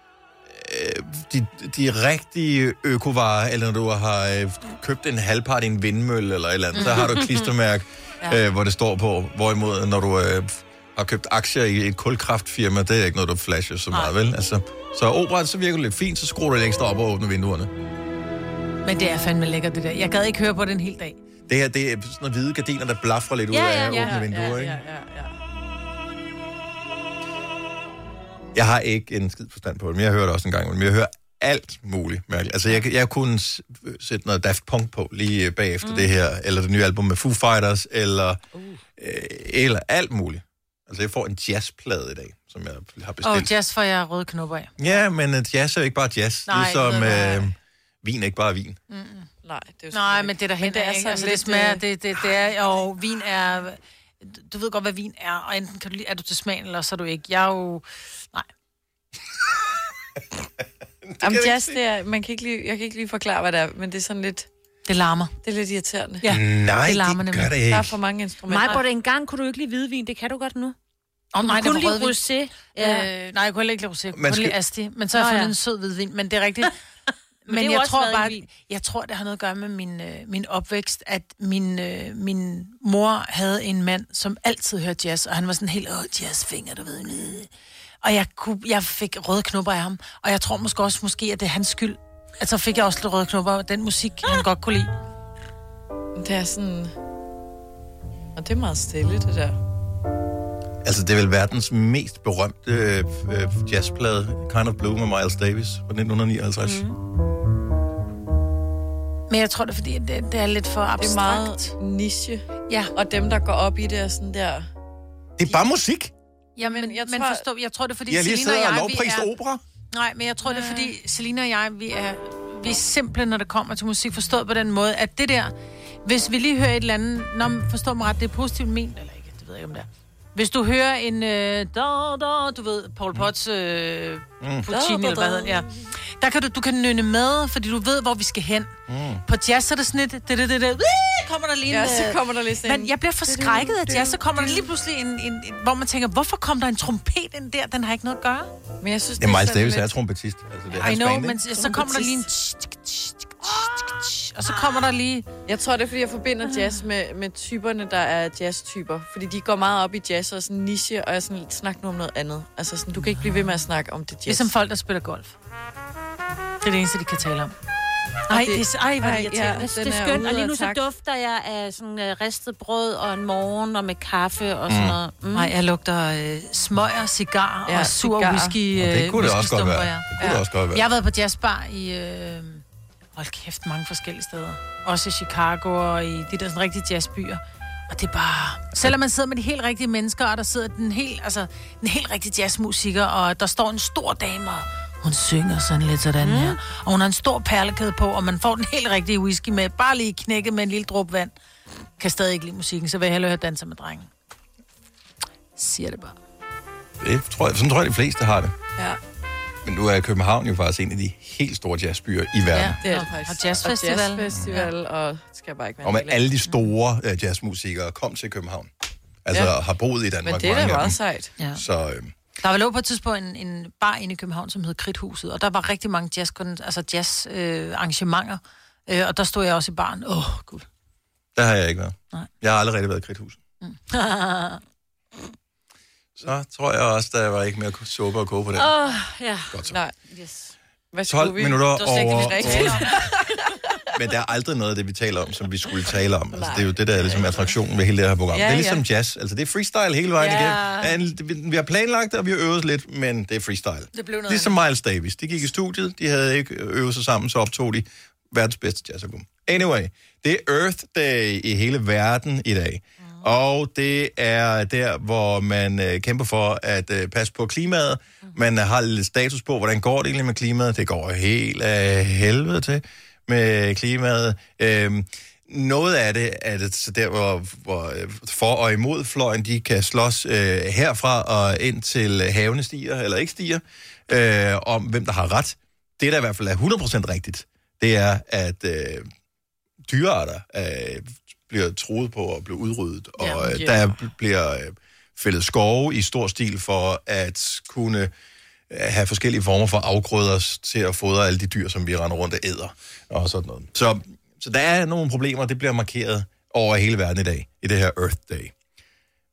A: øh, de, de rigtige økovarer, eller når du har øh, købt en halvpart i en vindmølle eller et eller andet. Så har du et klistermærke,
R: Ja.
A: øh, hvor det står på. Hvorimod, når du øh, har købt aktier i et kulkraftfirma, det er ikke noget, du flasher så meget, vel? Altså, så operaen, så virker det lidt fint, så skruer du lidt ekstra op og åbner vinduerne.
B: Men det er fandme lækkert, det der. Jeg gad ikke høre på den hele dag.
A: Det her, det er sådan nogle hvide gardiner, der blaffer lidt ud af åbne vinduer, ikke?
B: ja, ja, ja.
A: Jeg har ikke en skid forstand på det, men jeg hører det også en gang, men jeg hører alt muligt mærkeligt. Altså, jeg, jeg kunne s- sætte noget Daft Punk på lige øh, bagefter mm. det her, eller det nye album med Foo Fighters, eller, uh. øh, eller alt muligt. Altså, jeg får en jazzplade i dag, som jeg har
B: Og
A: bestilt. Oh,
B: jazz får jeg røde knopper af.
A: ja, men øh, jazz er jo ikke bare jazz,
B: Nej,
A: Nej, ligesom
B: nej,
A: øh, vin er ikke bare vin.
C: Nej, det er jo
B: Nej, men det der hen
C: det er
B: er, ikke?
C: sådan
B: Altså, det
C: lidt,
B: smager,
C: øh,
B: det, det, det er, og vin er, du ved godt, hvad vin er, og enten kan du lide, er du til smagen, eller så er du ikke. Jeg er jo, nej.
C: Jamen, jazz, det er, man kan ikke lige, jeg kan ikke lige forklare, hvad det er, men det er sådan lidt...
B: Det larmer. Mm.
C: Det er lidt irriterende.
B: Ja.
A: Nej,
B: Det larmer det gør nemlig. det
C: Der er
B: ikke.
C: for mange instrumenter.
D: Mig, hvor det engang kunne du ikke lide hvidvin, det kan du godt nu.
B: Om nej,
D: du
B: der
D: kunne
B: var
D: lide rosé.
B: Ja. Øh, nej, jeg kunne heller ikke lide rosé. Jeg kunne
D: Man
B: kun lide
D: skal-
B: asti. Men så har
D: Nå,
B: jeg fundet
D: ja.
B: en sød hvidvin. Men det er rigtigt. men
D: det er
B: men
D: jo
B: jeg
D: også
B: tror
D: været
B: bare,
D: en
B: jeg tror, det har noget at gøre med min, øh, min opvækst, at min, øh, min mor havde en mand, som altid hørte jazz, og han var sådan helt, åh, jazzfinger, du ved. øh." Og jeg, kunne, jeg fik røde knopper af ham, og jeg tror måske også, måske, at det er hans skyld. Altså fik jeg også lidt røde knopper af den musik, han godt kunne lide.
C: Det er sådan... Og det er meget stille, det der.
A: Altså, det er vel verdens mest berømte øh, øh, jazzplade, Kind of Blue med Miles Davis fra 1959. Mm.
B: Mhm. Men jeg tror det, er, fordi det, det er lidt for abstrakt.
C: Det er meget niche. Ja. Og dem, der går op i det, er sådan der...
A: Det er bare musik.
B: Jamen, men jeg,
C: jeg
B: men
C: tror-
B: forstå, jeg tror det er, fordi
A: Jeg har lige
B: Selina og
A: siddet og
B: jeg,
A: lovprist
B: vi er...
A: opera.
B: Nej, men jeg tror det er, fordi Selina og jeg, vi er, vi er simple, når det kommer til musik, forstået på den måde, at det der, hvis vi lige hører et eller andet, når man forstår mig ret, det er positivt ment, eller ikke, det ved jeg ikke, om det er. Hvis du hører en, øh, da, da, du ved, Paul Potts, øh,
Q: Mm.
B: Puccini,
Q: Da, da,
B: eller hvad
Q: da.
B: hedder det, ja. Der kan du, du kan nynne med, fordi du ved, hvor vi skal hen.
Q: Mm.
B: På jazz er det sådan lidt... Det, det, det, det. Kommer der lige en,
C: Ja, så
B: øh,
C: kommer der lige sådan en-
B: Men jeg bliver forskrækket af jazz, så kommer der lige pludselig en, en, en, hvor man tænker, hvorfor kom der en trompet ind der? Den har ikke noget at gøre. Men jeg synes,
A: Det er Miles Davis, er trompetist. Altså, det er
B: I
A: hans
B: know,
A: band,
B: men
A: ikke?
B: så kommer der lige en... tsk, tsk, tsk, tsk, tsk, Og så kommer der lige...
C: Jeg tror, det er, fordi jeg forbinder jazz med, med typerne, der er jazztyper. Fordi de går meget op i jazz og sådan niche, og jeg er sådan, snak nu om noget andet. Altså sådan, du kan ikke blive ved med at snakke om det jazz.
B: Ligesom folk, der spiller golf. Det er det eneste, de kan tale om.
C: Og
B: Ej,
C: det-
B: det er, ej, hvor er
C: Ej,
B: det
C: ja,
B: irriterende.
C: den
D: Det er
C: er
D: skønt,
C: ude
D: og lige nu
C: af
D: så
C: takt.
D: dufter jeg af sådan øh, ristet brød og en morgen og med kaffe og sådan
B: Mm.
D: noget. Mm.
B: Nej, jeg lugter øh, smøger, cigar
D: Ja,
B: og sur
D: cigar.
B: whisky.
A: Og det
B: øh,
A: kunne det også godt
B: whiskystumper,
A: være. Det kunne det også godt være.
B: Jeg har været på jazzbar i... Øh, hold kæft, mange forskellige steder. Også i Chicago og i de der sådan rigtige jazzbyer. Og det er bare... Selvom man sidder med de helt rigtige mennesker, og der sidder den helt, altså, den helt rigtige jazzmusiker, og der står en stor dame, og hun synger sådan lidt sådan mm. her. Og hun har en stor perlekæde på, og man får den helt rigtige whisky med, bare lige knækket med en lille dråbe vand. Kan stadig ikke lide musikken, så vil jeg hellere høre danser med drengen. Siger det bare.
A: Det tror jeg, sådan tror jeg, de fleste har det.
C: Ja.
A: Men nu er København jo faktisk en af de helt store jazzbyer i verden.
C: Ja, det er det faktisk.
B: Og jazzfestival.
C: Og jazzfestival, og skal jeg bare ikke være
A: Og med
C: en del af.
A: alle
B: Mm.
A: de store øh, jazzmusikere kom til København. Altså
C: Ja.
A: ja. har boet i Danmark.
B: Men det er da
A: mange af
B: meget
A: dem.
C: sejt.
B: Ja.
A: Så øh,
B: Der var lå på et tidspunkt en, en bar inde i København, som hed Kridthuset, og der var rigtig mange jazz, altså jazz øh, arrangementer, øh, og der stod jeg også i baren. Åh, oh, gud.
A: der har jeg ikke været.
B: Nej.
A: Jeg har aldrig rigtig været i Kridthuset.
C: Mm. *laughs*
A: Så tror jeg også, der var ikke mere suppe at koge på det.
C: Åh, oh, ja.
A: Godt så.
C: Nej. Yes. Hvad
A: 12
C: skulle vi?
A: minutter
C: Det var slet ikke
A: over-
C: det, vi rigtig- *laughs*
A: Men der er aldrig noget af det, vi taler om, som vi skulle tale om. Altså,
C: Nej.
A: det er jo det, der er ligesom attraktionen ved hele det her program.
C: Ja,
A: Ja, det er ligesom
C: ja.
A: ja. jazz. Altså, det er freestyle hele vejen
B: Ja.
A: ja. igennem. Ja, en- Vi har planlagt det, og vi har øvet lidt, men det er freestyle.
B: Det blev noget
A: Ligesom Miles Davis. De gik i studiet, de havde ikke øvet sig sammen, så optog de verdens bedste jazzalbum. Anyway, det er Earth Day i hele verden i dag. Og det er der, hvor man øh, kæmper for at øh, passe på klimaet. Man har lidt status på, hvordan går det egentlig med klimaet. Det går helt af helvede til med klimaet. Øhm, noget af det er det så der, hvor, hvor øh, for- og imod fløjen, de kan slås øh, herfra og ind til havene stiger, eller ikke stiger, øh, om hvem der har ret. Det, der i hvert fald er 100% rigtigt, det er, at øh, dyrearter øh, bliver troet på at blive udryddet, og
M: Jamen,
A: øh,
M: ja.
A: der er, bliver øh, fældet skove i stor stil for at kunne øh, have forskellige former for afgrøder s- til at fodre alle de dyr, som vi render rundt og æder og sådan noget. Så, så der er nogle problemer, det bliver markeret over hele verden i dag, i det her Earth Day.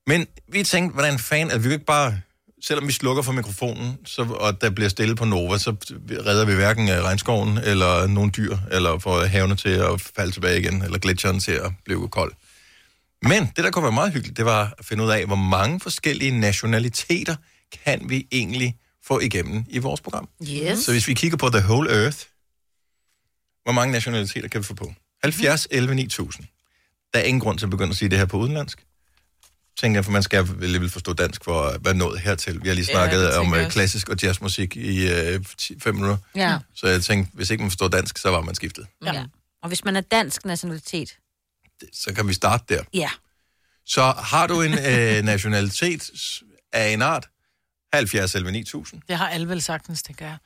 A: Men vi tænkte, hvordan fanden, at vi kan ikke bare, selvom vi slukker for mikrofonen, så, og der bliver stille på Nova, så redder vi hverken øh, regnskoven eller nogle dyr, eller får havene til at falde tilbage igen, eller gletsjeren til at blive kold. Men det, der kunne være meget hyggeligt, det var at finde ud af, hvor mange forskellige nationaliteter kan vi egentlig få igennem i vores program.
D: Yes.
A: Så hvis vi kigger på The Whole Earth, hvor mange nationaliteter kan vi få på? 70,
M: Mhm.
A: 11, 9000. Der er ingen grund til at begynde at sige det her på udenlandsk. Tænker jeg, for man skal alligevel forstå dansk for at være nået hertil. Vi har lige
M: Ja, det
A: snakket
M: tænker
A: ja, om
M: jeg
A: øh,
M: også.
A: klassisk og jazzmusik i 5 minutter.
D: Ja.
A: Så jeg tænkte, hvis ikke man forstår dansk, så var man skiftet.
D: Mm. ja. Og hvis man er dansk nationalitet,
A: Så kan vi starte der.
D: ja.
A: Så har du en øh, nationalitet s- af en art, 70 11 9000.
B: Det har alle vel sagtens, det gør.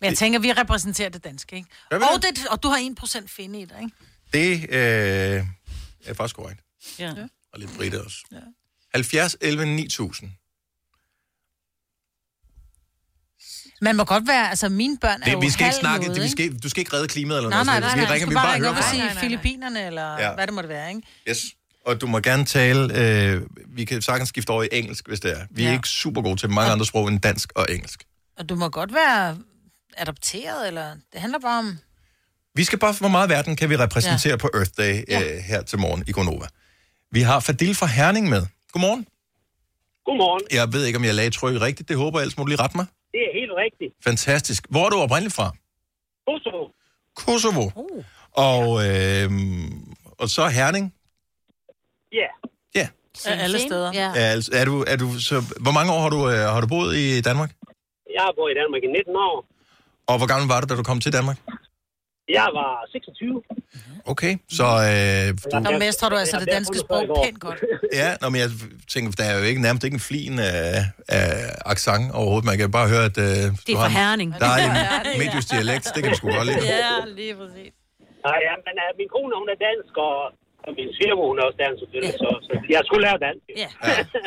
B: Men jeg tænker, vi repræsenterer det danske, ikke?
A: Gør vi
B: Og, det, og du har 1% finde i dig, ikke?
A: Det øh, er faktisk korrekt.
B: Ja.
A: Og lidt britte også. Ja. 70 11 9000.
B: Man må godt være, altså mine børn er
A: Det,
B: jo
A: vi skal ikke
B: halv
A: snakke,
B: noget,
A: det, vi
B: ikke?
A: skal, du skal ikke redde klimaet eller
B: Nej,
A: noget.
B: nej,
A: sådan
B: nej,
A: noget.
B: nej.
A: vi ringer,
B: du
A: vi
B: skal
A: bare
B: bare ringe op og
A: hører.
B: sige Filippinerne, eller
A: Ja.
B: hvad det måtte være, ikke?
A: Yes. Og du må gerne tale, øh, vi kan sagtens skifte over i engelsk, hvis det er. Vi er
B: Ja.
A: ikke super gode til mange andre sprog end dansk og engelsk.
B: Og du må godt være adopteret, eller... Det handler bare om...
A: Vi skal bare, hvor meget verden kan vi repræsentere ja. på Earth Day øh, her til morgen i Gonova. Vi har Fadil fra Herning med. Godmorgen.
Q: Godmorgen.
A: Jeg ved ikke, om jeg lagde trykket rigtigt. Det håber jeg, ellers må du lige rette mig.
Q: Det er helt rigtigt.
A: Fantastisk. Hvor er du oprindeligt fra?
Q: Kosovo.
A: Kosovo.
Q: Uh.
A: Og, øh, og så Herning.
Q: Ja.
A: Ja.
B: Af alle steder. Ja.
A: Ja. altså, Er du, er du, så, hvor mange år har du, øh, har du boet i Danmark?
Q: Jeg har boet i Danmark i 19 år.
A: Og hvor gammel var du, da du kom til Danmark?
Q: Jeg var 26.
A: Okay, så... Øh, du...
B: Der mestrer du altså det danske sprog pænt godt.
A: Ja, nå, men jeg tænker, der er jo ikke nærmest ikke en flin af, af accent overhovedet. Man kan bare høre, at... Øh, det er
D: fra Herning.
A: Der
D: Det er fra
A: er en
D: Herning, ja.
A: medjysk dialekt, det kan du sgu godt lide.
D: Ja, lige præcis.
Q: Nej, ja, men uh, min kone, hun er dansk, og, og min svigermor, hun er også dansk, selvfølgelig. Så, så jeg skulle lære dansk.
B: Ja.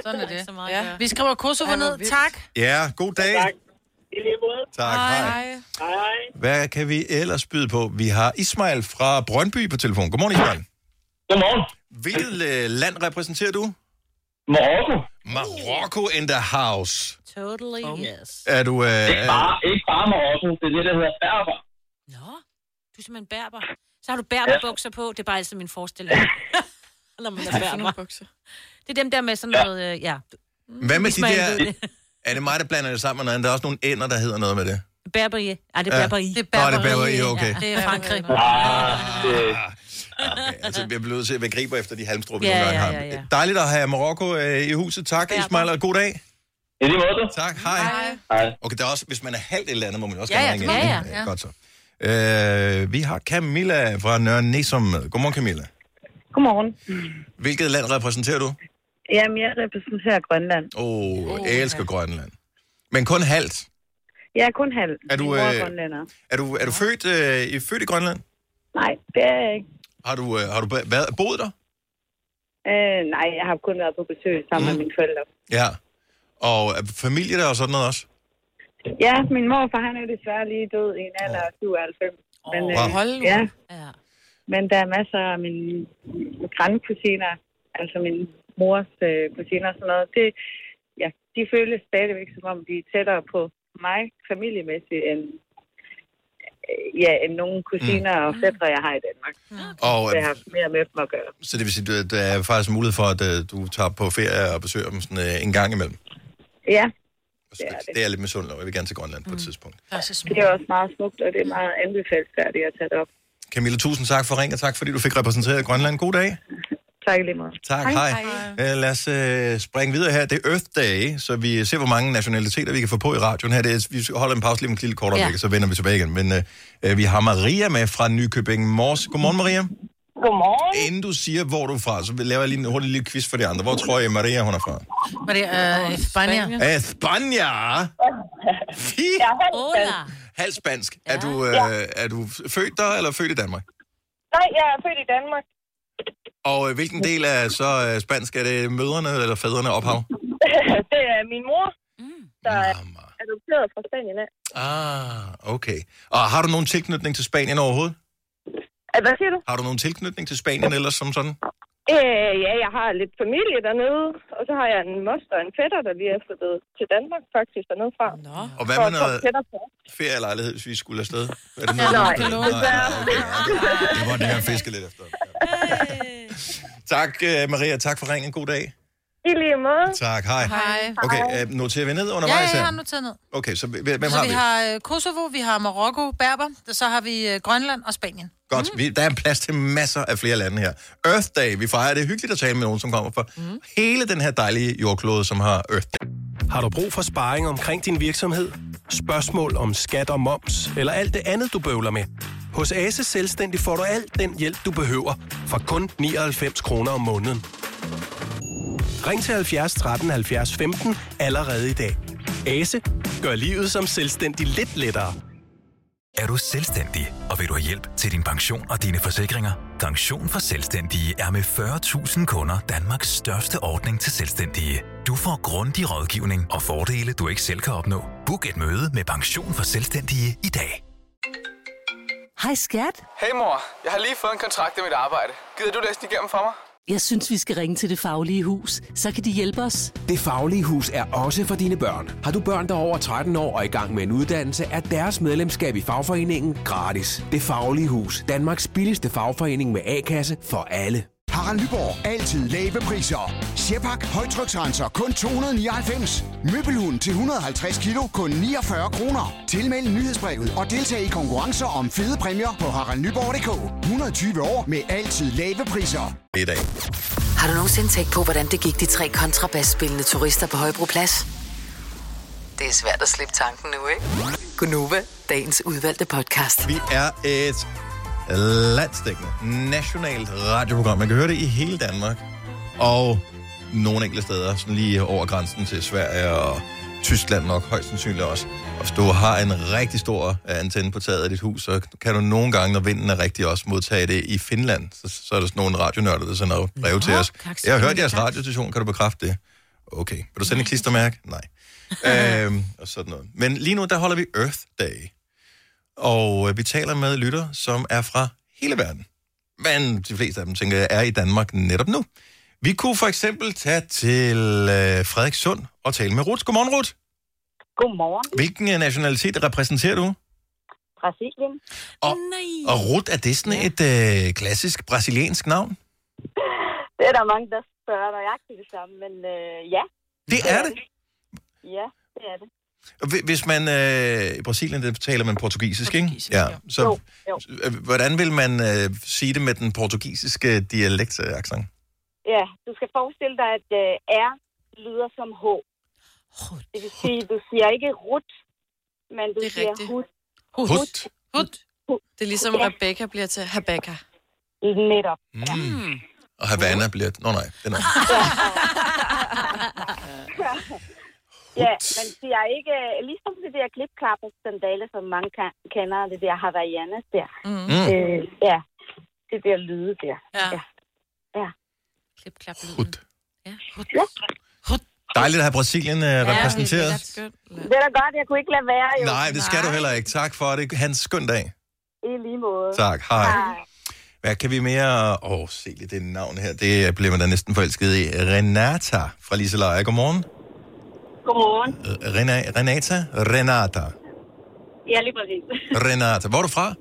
B: Sådan er det. Ja. Vi skriver Kosovo ned. Tak.
A: Ja, god dag.
Q: Tak. I lige måde.
A: Tak, hej. hej.
Q: Hej, hej.
A: Hvad kan vi ellers byde på? Vi har Ismail fra Brøndby på telefon. Godmorgen, Ismail.
Q: Godmorgen.
A: Hvilket øh, land repræsenterer du?
Q: Marokko.
A: Marokko in the house.
D: Totally yes.
A: Er du... Øh,
D: Ikke bare-
A: ikke bare Marokko, det er det, der hedder Berber.
D: Du er simpelthen berber. Så har du berberbukser på. Det er bare altid min forestilling. *laughs* Når man er berber. bukser. Det er dem der med sådan noget, øh, ja.
A: Hvad med de
D: Ismail ved
A: der...
D: det.
A: Er det mig, der blander det sammen med noget andet? Der er også nogle ender, der hedder noget med det.
D: Berberie. Ej, det
A: Ja.
D: er berberi.
A: Det er Nå, det er berberi, okay.
D: Ja, det er Frankrig.
A: Ah, Okay, altså, jeg bliver nødt til at være griber efter de halmstrå, vi
D: Ja,
A: nogle gange
D: ja,
A: har.
D: ja, ja.
A: Dejligt at have Marokko øh, i huset. Tak, Ismail, og god dag.
H: I lige måde.
A: Tak, hej.
H: Hej.
A: Okay, der er også, hvis man er halvt et eller andet, må man også
H: Ja,
A: gerne
H: ja,
A: ringe
H: det må
A: ind.
H: man. Ja.
A: Godt så. Øh, vi har Camilla fra Nørre Nesum med. Godmorgen, Camilla.
R: Godmorgen.
A: Hvilket land repræsenterer du?
R: Jamen, jeg repræsenterer Grønland.
A: Åh, oh, jeg elsker Grønland. Men kun halvt.
R: Jeg er kun halv.
A: Er du,
R: Min mor
A: øh,
R: er grønlænder.
A: Er du, er du født, øh, i- født i Grønland?
R: Nej, det er jeg ikke.
A: Har du, øh, har du ba- været, boet der?
R: Øh, nej, jeg har kun været på besøg sammen med mine forældre.
A: Ja. Og er familie der og sådan noget også?
R: Ja, min morfar, han er desværre lige død i en alder af 97. Men,
A: Åh, hold nu.
R: ja. Men der er masser af mine grandkusiner, altså min mors øh, kusiner og sådan noget. Det, ja, de føles stadigvæk, som om de er tættere på mig familiemæssigt, end, øh, ja, end nogle kusiner mm. og fædre, jeg har i Danmark. Okay.
A: Og, øh,
R: Så jeg har mere med dem at gøre.
A: Så det vil sige, at der er faktisk mulighed for, at øh, du tager på ferie og besøger dem sådan, øh, en gang imellem.
R: Ja,
A: Det er, det. Det er lidt misundelig over. Jeg vil gerne til Grønland mm. på et tidspunkt.
R: det er også meget smukt, og det er meget anbefalesværdigt at tage det op.
A: Camilla, tusind tak for ring, og tak fordi du fik repræsenteret Grønland. God dag.
R: Tak i lige måde.
A: Tak, hej.
R: Hej,
A: hej. hej. Lad os øh, springe videre her. Det er Earth Day, så vi ser, hvor mange nationaliteter vi kan få på i radioen her. Det er, vi holder en pause lige om et lille kort øjeblik,
S: Ja.
A: ja. så vender vi tilbage igen. Men øh, øh, vi har Maria med fra Nykøbing Mors. Godmorgen, Maria.
S: Godmorgen.
A: Inden du siger, hvor du er fra, så laver jeg lige en hurtig lille quiz for de andre. Hvor tror jeg, Maria hun er fra?
B: Var det øh, Spanien?
A: Ja. Spania!
S: Jeg er halv
B: Hola.
A: Halvt spansk. Ja. Er, du, øh, er du født der, eller født i Danmark?
S: Nej, jeg er født i Danmark. *laughs*
A: Og øh, hvilken del er så øh, spansk? Er det mødrene eller fædrene ophav?
S: det er min mor, der er adopteret fra Spanien af.
A: Ah, okay. Og har du nogen tilknytning til Spanien overhovedet?
S: Hvad siger du?
A: Har du nogen tilknytning til Spanien eller som sådan?
S: Øh, ja, jeg har lidt familie dernede, og så har jeg en moster og en fætter, der lige er flyttet til Danmark faktisk dernede fra. Nå.
A: Og hvad med noget- Ferielejlighed, hvis vi skulle afsted? Er det noget,
S: Nej,
A: du-
S: det
A: nej, nej, okay. Det var det, jeg fiskede lidt efter. tak, øh, Maria. Tak for ringen. God dag.
S: I lige måde.
A: Tak. Hej.
B: Hej.
A: Okay, øh, noterer vi ned
B: Ja,
A: undervejs
B: ja, jeg har
A: her?
B: noteret ned.
A: Okay, så hvem hvem
B: så
A: har
B: vi
A: vi?
B: har øh, Kosovo, vi har Marokko, Berber, så har vi øh, Grønland og Spanien.
A: Godt, vi, der er plads til masser af flere lande her. Earth Day, vi fejrer det hyggeligt at tale med nogen, som kommer fra
B: Mhm.
A: mm. hele den her dejlige jordklode, som har Earth Day.
F: Har du brug for sparring omkring din virksomhed? Spørgsmål om skat og moms, eller alt det andet, du bøvler med? Hos Ase Selvstændig får du alt den hjælp, du behøver, for kun 99 kroner om måneden. Ring til 70 13 70 15 allerede i dag. Ase gør livet som selvstændig lidt lettere.
M: Er du selvstændig, og vil du have hjælp til din pension og dine forsikringer? Pension for Selvstændige er med 40.000 kunder Danmarks største ordning til selvstændige. Du får grundig rådgivning og fordele, du ikke selv kan opnå. Book et møde med Pension for Selvstændige i dag.
N: Hej skat.
K: Hey mor, jeg har lige fået en kontrakt med mit arbejde. Gider du læse den igennem for mig?
N: Jeg synes, vi skal ringe til Det Faglige Hus. Så kan de hjælpe os.
O: Det Faglige Hus er også for dine børn. Har du børn, der er over 13 år og i gang med en uddannelse, er deres medlemskab i fagforeningen gratis. Det Faglige Hus. Danmarks billigste fagforening med A-kasse for alle.
P: Har Harald Nyborg. Altid lave priser. Sjehpak. Højtryksrenser. Kun 299. Møbelhund til 150 kilo. Kun 49 kroner. Tilmeld nyhedsbrevet og deltag i konkurrencer om fede præmier på haraldnyborg.dk. 120 år med altid lave priser.
A: I dag.
E: Har du nogensinde tænkt på, hvordan det gik de tre kontrabasspillende turister på Højbroplads? Det er svært at slippe tanken nu, ikke? Gunova, dagens udvalgte podcast.
A: Vi er et landstækkende, nationalt radioprogram. Man kan høre det i hele Danmark. Og nogle enkelte steder, sådan lige over grænsen til Sverige og Tyskland nok, højst sandsynligt også. Og hvis du har en rigtig stor øh, antenne på taget af dit hus, så kan du nogle gange, når vinden er rigtig, også modtage det i Finland. Så, så er der sådan nogle radionørder, der sender brev til os. Jeg har hørt jeres radiostation, kan du bekræfte det? Okay. Vil du sende et klistermærke? Nej. øhm, og sådan noget. Men lige nu, der holder vi Earth Day. Og øh, vi taler med lytter, som er fra hele verden. Men de fleste af dem, tænker jeg, er i Danmark netop nu. Vi kunne for eksempel tage til øh, Frederikssund og tale med Ruth. Godmorgen, Ruth.
T: Godmorgen,
A: Hvilken øh, nationalitet repræsenterer du?
T: Brasilien.
A: Og, og Ruth, er det sådan et øh, klassisk brasiliansk navn?
T: Det er der mange, der spørger nøjagtigt det samme, men øh, ja.
A: Det er det.
T: Ja, det er det.
A: Og hvi- Hvis man øh, i Brasilien, der taler man portugisisk, ikke? Ja. Så
T: Jo, jo.
A: øh, hvordan vil man øh, sige det med den portugisiske dialekt øh, accent?
T: Ja, du skal forestille dig, at øh, R lyder som H. Det vil sige, du siger ikke rut, men du siger hut.
C: Hut. Hut. Det er ligesom,
T: Ja.
C: Rebecca bliver til Habakka.
T: Netop.
A: Mm. Og Havana bliver... Nå nej, den
T: *laughs*
A: er...
T: Ja, man siger ikke, øh, ligesom det der klipklapper sandale, som mange kan- kender, det der Havaianas der.
C: Mm.
T: Øh, ja, det der lyde der. Ja. ja. ja.
D: Klipklap
A: Hut.
D: Ja.
T: Hut. Ja.
A: Dejligt at have Brasilien øh, repræsenteret.
T: Det er da godt, jeg kunne ikke lade være jo.
A: Nej, det skal du heller ikke. Tak for det. Hans skøn dag.
T: I lige måde.
A: Tak. Hej. Hvad kan vi mere... Åh, oh, se lige det navn her. Det bliver man da næsten forelsket i. Renata fra Liseleje. Godmorgen. Øh,
U: Godmorgen.
A: Rena, Renata? Renata.
U: Ja, lige præcis. *laughs*
A: Renata. Hvor er du fra?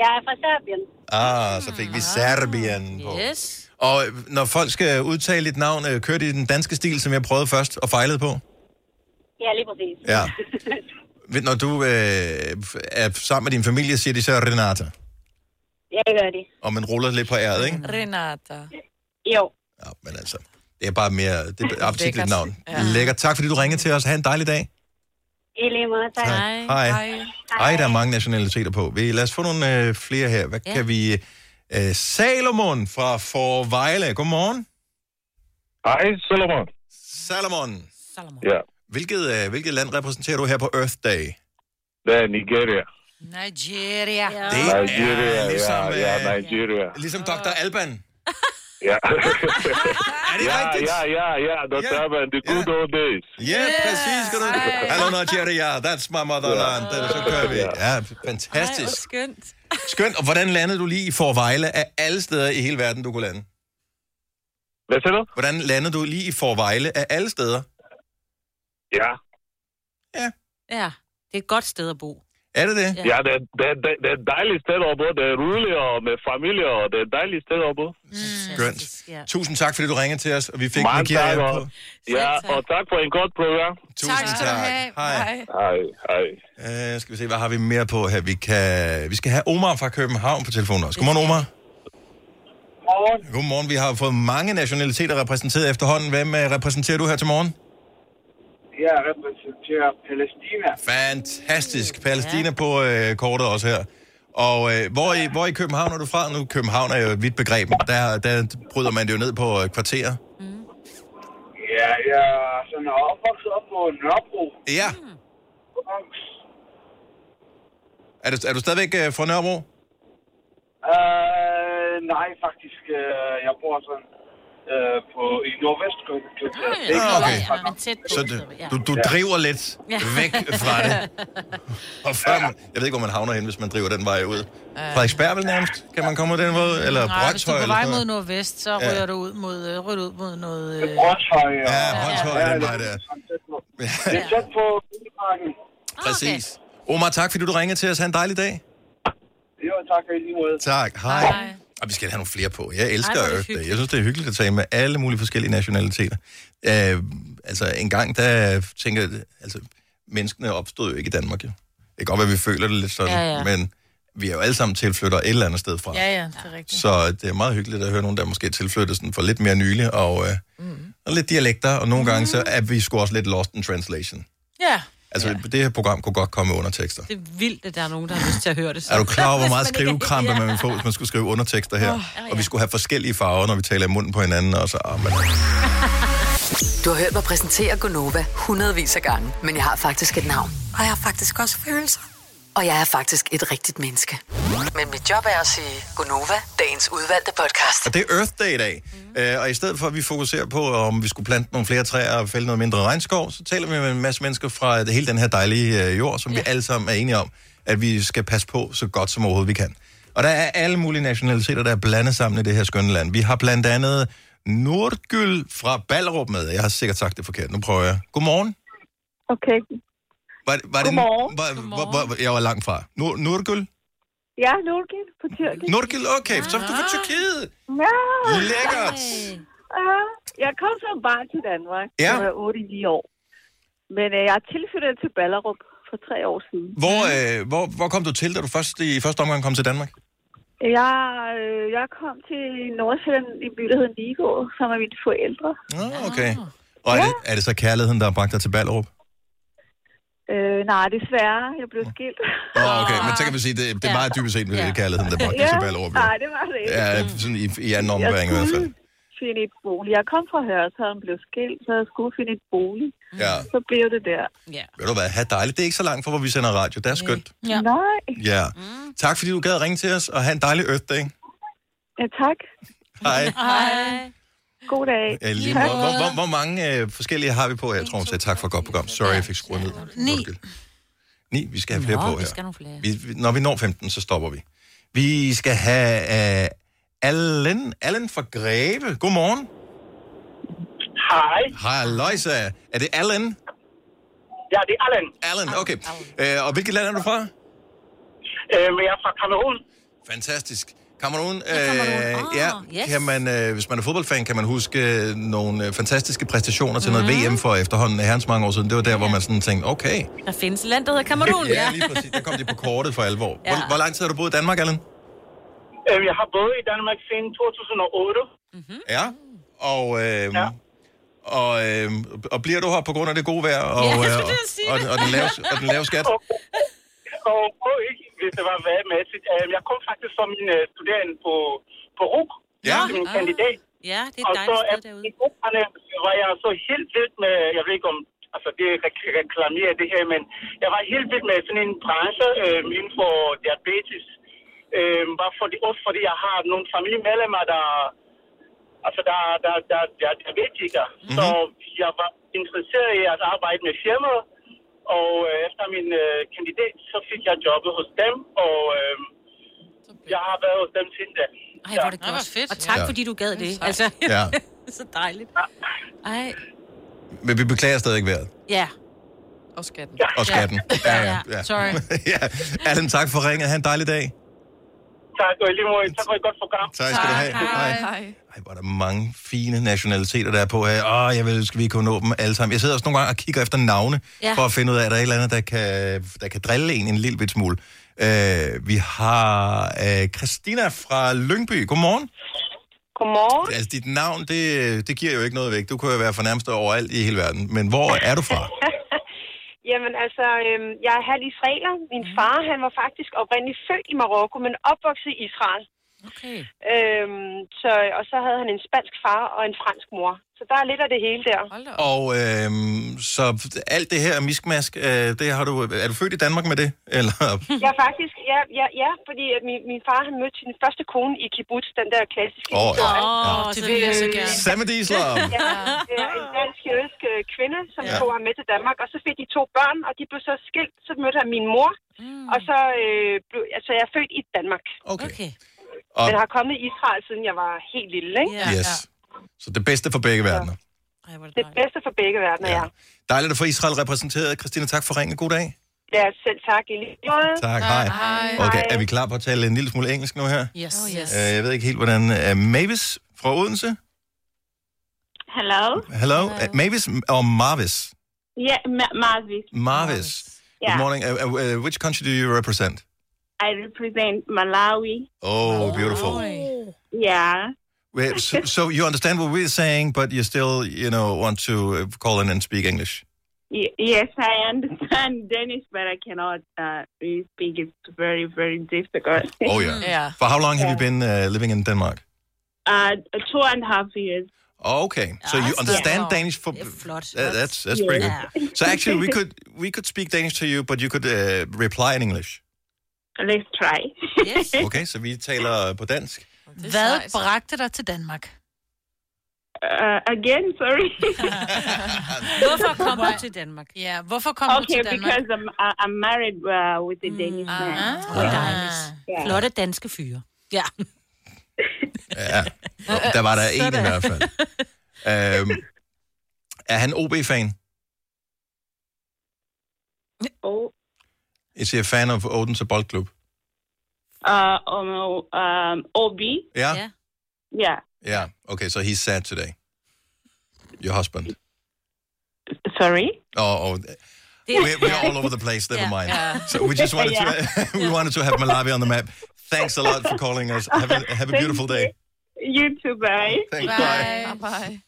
U: Jeg er fra Serbien.
A: Ah, så fik vi Serbien på.
U: Yes.
A: Og øh, når folk skal udtale dit navn, øh, kører de i den danske stil, som jeg prøvede først og fejlede på?
U: Ja, lige præcis.
A: Ja. Ved- Når du øh, er sammen med din familie, siger de så Renata.
U: ja, det gør de.
A: Og man ruller lidt på æret, ikke?
U: Renata. Jo.
A: Men altså, det er bare mere... Det er et appetitligt
U: Lækkert.
A: navn.
U: Ja.
A: Lækkert. Tak fordi du ringede til os. Ha' en dejlig dag.
U: I lige måde, tak.
A: Hej. Hej. Ej, der er mange nationaliteter på. Vi, lad os få nogle øh, flere her. Hvad
U: Ja.
A: kan vi... Øh, Salomon fra Forvejle. Godmorgen.
V: Hej, Salomon.
A: Salomon.
V: Ja,
A: Hvilket, øh, hvilket land repræsenterer du her på Earth Day?
V: det er Nigeria.
B: Nigeria. Ja.
A: Det
V: Nigeria,
A: er ligesom,
V: ja, ja, Nigeria.
A: Ligesom Dr.
U: Øh.
A: Alban.
V: Ja.
A: er det
V: ja,
A: rigtigt?
V: Ja, ja, ja, Dr. Yeah. Alban, the good old days.
A: Ja, yeah, præcis. Skal du... Hello Nigeria, that's my motherland. Yeah. Så kører vi. Ja, fantastisk.
W: skønt.
A: Skønt. Og hvordan landede du lige i Forvejle af alle steder i hele verden, du kunne lande?
V: Hvad siger du?
A: Hvordan landede du lige i Forvejle af alle steder?
V: Ja.
D: Ja, det er et godt sted at bo.
A: Er det det?
D: Ja.
V: Ja, det, er- det, er- det, er- det er et dejligt sted at bo. Det er roligt og med familie, og det er et dejligt sted at bo.
A: Skønt. Tusind tak, fordi du ringede til os, og vi fik
V: Mange
A: Nigeria
V: tak,
A: på.
V: og- Ja, og tak for en godt program.
A: Tusind Tak skal du tak. have. Hej.
V: Hej, hej.
A: Uh, skal vi se, hvad har vi mere på her? Vi, kan... vi skal have Omar fra København på telefonen også. Godmorgen, Omar. Godmorgen. Godmorgen. Vi har fået mange nationaliteter repræsenteret efterhånden. Hvem øh, repræsenterer du her til morgen?
X: Jeg repræsenterer Palæstina.
A: Fantastisk. Palæstina ja. på øh, kortet også her. Og øh, hvor, i, hvor i København er du fra? Nu København er jo et vidt begreb. men Der, der bryder man det jo ned på øh, kvarterer.
X: Ja, jeg er sådan opvokset op på Nørrebro.
A: Ja. Er du, er du stadigvæk øh, fra Nørrebro?
X: Øh, nej, faktisk. Øh, jeg bor sådan øh, på, i nordvest.
A: Ah, okay.
D: Men tæt på.
A: Så du, du, du driver lidt væk fra det.
B: *laughs*
A: Og før man, jeg ved ikke, hvor man havner hen, hvis man driver den vej ud. Frederiksberg vel nærmest? Kan man komme ud den måde? Eller
B: Øh. Nej, hvis du
A: Brøndshøj?
B: er på
A: eller
B: vej
A: sådan
B: mod
A: noget?
B: nordvest, så
A: Ja.
B: ryger du ud mod, øh, ryger du ud mod noget... Øh...
X: Brøndshøj.
A: Ja, Brøndshøj er den vej der.
X: Det er tæt på Bilparken.
B: Ah,
A: Præcis. Omar, tak fordi du ringede til os. Ha' en dejlig dag.
X: Jo, tak og i lige måde.
A: Tak. Hej. Og vi skal have nogle flere på. Jeg elsker
G: Ej, hvor er det
A: Ej, det.
G: hyggeligt.
A: Jeg synes, det er hyggeligt at tale med alle mulige forskellige nationaliteter. Øh, altså, en gang, der tænker jeg, altså, menneskene opstod jo ikke i Danmark, jo. Det kan godt være, vi føler det lidt sådan,
B: Ja,
A: ja,
B: ja.
A: ja. men vi er jo alle sammen tilflytter et eller andet sted fra.
B: Ja, ja, det er rigtigt.
A: Så det er meget hyggeligt at høre nogen, der måske er tilflyttet sådan for lidt mere nylig, og, øh, mm. og lidt dialekter, og nogle gange så er vi sgu også lidt lost in translation.
B: Ja,
A: Altså, ja. det her program kunne godt komme med undertekster.
D: Det er vildt, at der er nogen, der har lyst til at høre det.
A: Er du klar over, hvor
D: Hvis
A: meget
D: man ikke er-
A: skrivekrampe man ville få, hvis man skulle skrive undertekster her?
D: Åh,
A: Og vi skulle have forskellige farver, når vi taler i munden på hinanden, og så... Oh, man.
E: Du har hørt mig præsentere Gonova hundredvis af gange, men jeg har faktisk et navn.
I: Og jeg har faktisk også følelser.
E: Og jeg er faktisk et rigtigt menneske. Men mit job er at sige Gonova, dagens udvalgte podcast.
A: Og det er Earth Day i dag.
D: Mhm.
A: Mm. Øh, og i stedet for, at vi fokuserer på, om vi skulle plante nogle flere træer og fælde noget mindre regnskov, så taler vi med en masse mennesker fra det- hele den her dejlige øh, jord, som ja. vi alle sammen er enige om, at vi skal passe på så godt som overhovedet vi kan. Og der er alle mulige nationaliteter, der er blandet sammen i det her skønne land. Vi har blandt andet Nordgyld fra Ballerup med. Jeg har sikkert sagt det forkert. Nu prøver jeg. Godmorgen.
I: Okay.
A: Var, var
I: Godmorgen.
A: Det, var, var, var, var, jeg var langt fra. Nur, Nurgul?
I: Ja, Nurgil på tyrkisk.
A: Nurgul, okay. Så er du fra Tyrkiet.
I: Ja.
A: Lækkert.
I: Ja, jeg kom som barn til Danmark.
A: Ja.
I: Jeg var 8 i 9 år. Men øh, jeg er tilflyttet til Ballerup for tre år siden.
A: Hvor, øh, hvor, hvor kom du til, da du først i første omgang kom til Danmark?
I: Jeg, øh, jeg kom til Nordsjælland i en by, der hedder Nigå, sammen med mine forældre.
A: Ah, Okay. Og er, det, er det så kærligheden, der har bragt dig til Ballerup?
I: Øh, nej, desværre. Jeg blev skilt.
A: Nå,
I: Ah.
A: okay, men så kan vi sige, det, det er meget dybest set ja. kærligheden, der bragte dig til Ballerup. jo.
I: Nej, det var det ikke.
A: Ja, sådan i, i anden ombæring i hvert fald.
I: finde et bolig. Jeg kom fra Hørsholm, blev skilt, så jeg skulle finde et bolig.
A: Ja.
I: Så blev det der.
D: Ja.
A: Ved du hvad, ha' dejligt. Det er ikke så langt fra, hvor vi sender radio. Det er skønt.
I: ja. Mm. Nej.
A: Ja. Tak fordi du gad at ringe til os, og have en dejlig Earth Day.
I: Ja, tak.
A: Hej.
I: Hej. God dag.
A: Ja, lige måde. Øh, hvor, hvor, hvor mange øh, forskellige har vi på her, Troms? Ja, Tak for et godt program. Sorry, jeg fik skruet ned.
B: ni.
A: Ni, vi skal have flere
B: Nå,
A: på
B: vi
A: her.
B: skal have nogle flere.
A: Vi, vi- når vi når 15, så stopper vi. Vi skal have uh, Allen, Allen fra Greve. Godmorgen.
J: Hej.
A: Hej, Løjsa. Er det Allen?
J: Ja, det er Allen.
A: Allen, okay. Uh, og hvilket land er du fra?
J: Øh, men jeg er fra Kamerun.
A: Fantastisk. Kamerun,
B: Ah,
A: øh, ja,
J: yes.
A: kan man, øh, hvis man er fodboldfan, kan man huske øh, nogle øh, fantastiske præstationer til noget
B: Mhm.
A: VM for efterhånden øh, herrens mange år siden. Det var der, hvor man sådan tænkte, okay,
D: Der findes et land, der hedder Kamerun.
A: Ja, lige præcis. Der kom det på kortet for alvor. Ja. Hvor,
D: Ja.
A: hvor lang tid har du boet i Danmark, Allen?
J: Øh, jeg har boet i Danmark siden 2008.
A: Ja. Og, øh, ja. Og, øh, og bliver du her på grund af det gode vejr
J: Ja,
A: og, øh,
J: jeg
A: og,
J: skulle til at sige
A: og,
J: det.
A: og, den lave, og den lave skat?
J: Og prøv ikke, hvis det var værmæssigt. Øh, jeg kom faktisk som min øh, studerende på, på RUK.
A: Ja.
J: Til min kandidat.
D: Ja, det er
J: og
D: et
J: så
D: dejligt sted derude.
J: i grupperne var jeg så helt vild med, jeg ved ikke om, altså det er re- reklamere det her, men jeg var helt vild med sådan en branche øh, inden for diabetes. Øh, bare fordi, også fordi jeg har nogle familiemedlemmer, der, altså der, der, der, der er diabetikere. Mm-hmm. Så jeg var interesseret i at arbejde med firmaet, og øh, efter min øh, kandidat, så fik jeg jobbet hos dem, og øh, jeg har været hos dem siden da.
D: Ej, hvor er det godt. Og tak,
A: Ja.
D: fordi du gad det. Altså,
A: Ja.
D: *laughs* så dejligt. Ej,
A: Men vi beklager stadig vejret.
D: ja.
C: Og skatten.
A: Og skatten. Ja, ja, ja.
D: Sorry.
A: *laughs* ja. Allen, tak for ringet. Ha' en dejlig dag.
J: Tak, og i lige måde, tak for et godt program.
A: Tak skal du have. Hej.
J: Hej.
A: Ej, hvor er der mange fine nationaliteter, der er på her. Åh, jeg vil, skal vi kunne nå dem alle sammen. Jeg sidder også nogle gange og kigger efter navne,
G: Ja.
A: ja. for at finde ud af, at der er et eller andet, der kan, der kan drille en en lille bit smule. Øh, vi har øh, Christina fra Lyngby. Godmorgen.
J: Godmorgen.
A: Altså, dit navn, det, det giver jo ikke noget væk. Du kunne jo være fornærmest overalt i hele verden. Men hvor er du *laughs* fra?
W: *laughs* Jamen altså, øhm, jeg er halv israeler. Min
A: Mhm.
W: far, han var faktisk oprindeligt født i Marokko, men opvokset i Israel.
D: Okay.
W: Øhm, så, og så havde han en spansk far og en fransk mor. Så der er lidt af det hele der.
A: Og øh, så alt det her miskmask, øh, det har du, er du født i Danmark med det? *laughs* Eller
W: Jeg er faktisk, ja, ja, ja fordi at min, min far, han mødte sin første kone i kibbutz, den der klassiske
A: Åh, ja.
W: historie.
A: Åh, det vil jeg så gerne. Sammed *laughs* Islam.
W: Ja, ja, en dansk jødisk øh, kvinde, som
A: Ja.
W: ja. tog ham med til Danmark, og så fik de to børn, og de blev så skilt, så mødte han min mor, mm. og så øh, blev, altså jeg er født i Danmark.
A: Okay.
D: okay.
A: Og-
W: Men har kommet i Israel, siden jeg var helt lille, ikke?
A: Ja, Yes. ja. Så det bedste for begge verdener.
W: Det bedste for begge verdener, ja.
A: Dejligt at få Israel repræsenteret. Christina, tak for ringen. God dag.
W: Ja, selv tak. I lige måde.
A: Tak, hej. Okay, er vi klar på at tale en lille smule engelsk nu her?
B: Yes. Oh, yes.
A: Øh, jeg ved ikke helt, hvordan... Uh, Mavis fra Odense?
U: Hello?
A: Hello? Uh, Mavis or Marvis?
U: Yeah, Ma- Marvis.
A: Marvis.
U: Yeah.
A: Good morning. Uh, uh, uh, which country do you represent?
U: I represent Malawi.
A: Oh, beautiful.
U: Yeah.
A: Wait, So, so you understand what we're saying, but you still, you know, want to uh, call in and speak English.
U: Y- yes, I understand *laughs* Danish, but I cannot uh, really speak. It's very, very difficult. *laughs*
A: Oh *laughs* yeah. For how long have you been uh, living in Denmark?
U: Uh, two and a half years.
A: Okay, so you understand Danish for Uh, that's that's pretty good. So actually, we could we could speak Danish to you, but you could uh, reply in English.
U: Let's try.
B: Yes.
A: Okay, så vi taler uh, på dansk.
B: Hvad bragte dig til Danmark?
U: Uh, again, sorry.
B: Hvorfor kom du til Danmark? Ja, hvorfor kom
U: *laughs*
B: du
U: okay,
B: til Danmark?
U: because I'm I- I'm married uh, with a Danish man.
A: Ah.
D: Yeah. Flotte danske fyre. Ja.
A: Ja, Nå, der var der en i
D: Sådan.
A: hvert fald. Øhm, er han OB-fan?
U: Oh,
A: Jeg siger fan of Odense Boldklub.
U: uh, oh no, um, OB.
A: Ja. Ja.
U: Yeah.
A: Yeah. Okay, so he's sad today. Your husband.
U: Sorry.
A: Oh, oh. We're, we're all over the place. Never
U: Yeah.
A: mind.
U: Yeah.
A: So we just wanted to *laughs* we wanted to have Malawi on the map. Thanks a lot for calling us. Have a, have a
U: Thank
A: beautiful day.
U: You too, bye.
A: Thank you.
U: Bye. Bye.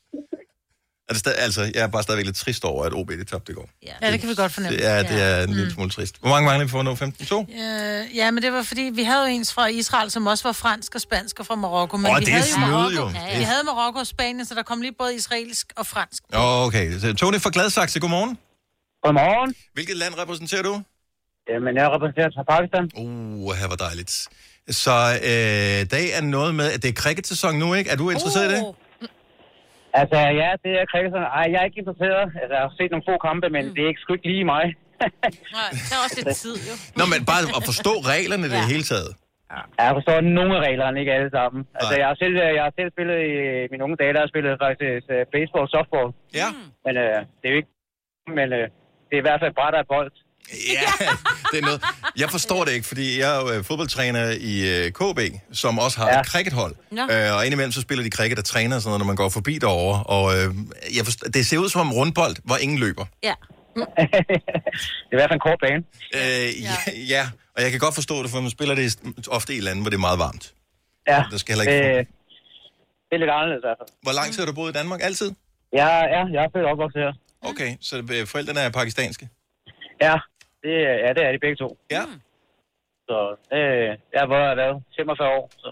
A: Er det stad, altså, jeg er bare stadigvæk lidt trist over, at OB det tabte i går.
B: Ja, det kan vi godt fornemme.
A: Det er, det er en lille smule trist. Hvor mange mangler vi for at nå 15? To?
B: Øh, ja, men det var fordi, vi havde jo ens fra Israel, som også var fransk og spansk og fra Marokko. Men
A: Åh,
B: vi
A: det er
B: havde
A: snyd,
B: Marokko,
A: jo.
B: Ja, Vi
A: Det-
B: havde Marokko og Spanien, så der kom lige både israelsk og fransk.
A: Okay, så Tony fra Gladsaxe, godmorgen. Godmorgen. Hvilket land repræsenterer du? Jamen, jeg repræsenterer fra Pakistan. Uh, her var dejligt. Så øh, dag er noget med, at det er cricket-sæson nu, ikke? Er du interesseret uh. i det?
B: Oh.
G: Altså, ja, det er krigerne. Ej, jeg er ikke interesseret. Altså, jeg har set nogle få kampe, men mm. det er ikke sgu ikke lige mig.
B: Nej, det er også lidt tid, jo.
A: Nå, men bare at forstå reglerne i det hele taget.
G: Ja, Jeg forstår nogle af reglerne, ikke alle sammen. Altså, jeg har, selv, jeg har selv spillet i mine unge dage, der har jeg spillet faktisk øh, baseball og softball.
A: Ja.
B: Mm.
G: Men øh, det er jo ikke... Men øh, det er i hvert fald bræt af bold.
A: Ja, *laughs* det er noget. Jeg forstår det ikke, fordi jeg er jo øh, fodboldtræner i øh, KB, som også har ja. et crickethold.
H: Nå.
A: Øh, og indimellem så spiller de cricket og træner og sådan noget, når man går forbi derovre. Og øh, jeg forstår, det ser ud som om rundbold, hvor ingen løber.
D: Ja.
A: Det er i hvert fald en kort bane. Øh, ja. ja. ja, og jeg kan godt forstå det, for man spiller det ofte i lande, hvor det er meget varmt.
G: Ja.
A: Der skal heller ikke...
G: Øh, det er lidt anderledes, altså.
A: Hvor lang tid har du boet i Danmark? Altid?
G: Ja, ja, jeg er født og opvokset her.
A: Okay, så øh, forældrene er pakistanske?
G: Ja, det, er- ja, det er de begge to.
A: Ja.
G: Så øh, jeg har været været 45 år, så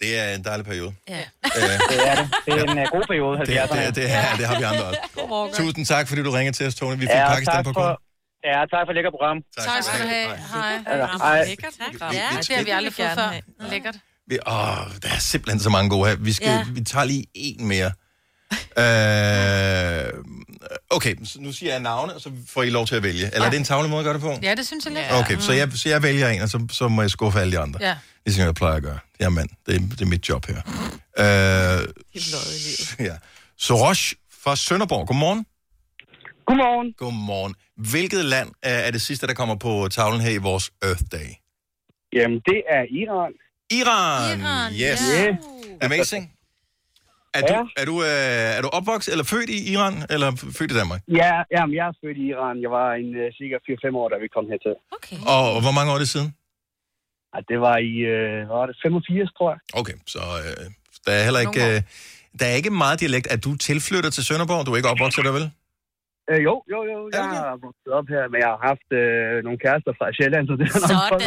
A: Det er en dejlig periode.
B: Ja.
A: Øh,
G: det er det. Det er en øh, god periode,
A: Det, er, det, er,
G: 70'erne.
A: det, er, det har vi
B: *laughs*
A: andre også. Tusind tak, fordi du ringer til os, Tone. Vi fik
G: Ja,
A: ja,
G: og
A: Pakistan
G: tak
A: på
G: for-
A: kort.
G: Ja, tak for et lækker program.
B: Tak skal du have. Hej.
G: Hej.
B: Lækkert.
G: Vi-
B: Ja,
G: vi-
B: det har vi aldrig fået før. Lækkert.
A: Vi, åh, der er simpelthen så mange gode her. Vi, skal,
B: Ja.
A: ja. vi tager lige en
B: *laughs*
A: mere. Øh, okay, så nu siger jeg navne, og så får I lov til at vælge. Eller er det en tavle måde at gøre det på?
B: Ja, det synes jeg lidt.
A: Okay, så jeg, så jeg vælger en, og så, så må jeg skuffe alle de andre.
B: Ja.
A: Ligesom jeg plejer at gøre. Jeg er mand. Det er, det er mit job her. Øh, ja. Soros fra Sønderborg. Godmorgen. Godmorgen. Godmorgen. Hvilket land er, er det sidste, der kommer på tavlen her i vores Earth Day?
L: Jamen, det er Iran.
A: Iran, Iran yes.
L: ja.
A: Amazing. Er du, er, du, øh, er du opvokset eller født i Iran, eller f- født i Danmark?
L: Ja, jamen, jeg er født i Iran. Jeg var en uh, cirka 4-5 år, da vi kom hertil.
B: Okay.
A: Og, og hvor mange år er det siden?
L: Ja, det var i øh, hvad var det 85, tror jeg.
A: Okay, så øh, der er heller ikke, øh, der er ikke meget dialekt. Er du tilflytter til Sønderborg? Du er ikke opvokset der, vel?
L: Øh, jo, jo, jo. Jeg har vokset op her, men jeg har haft øh, nogle kærester fra Sjælland, så det er nok for...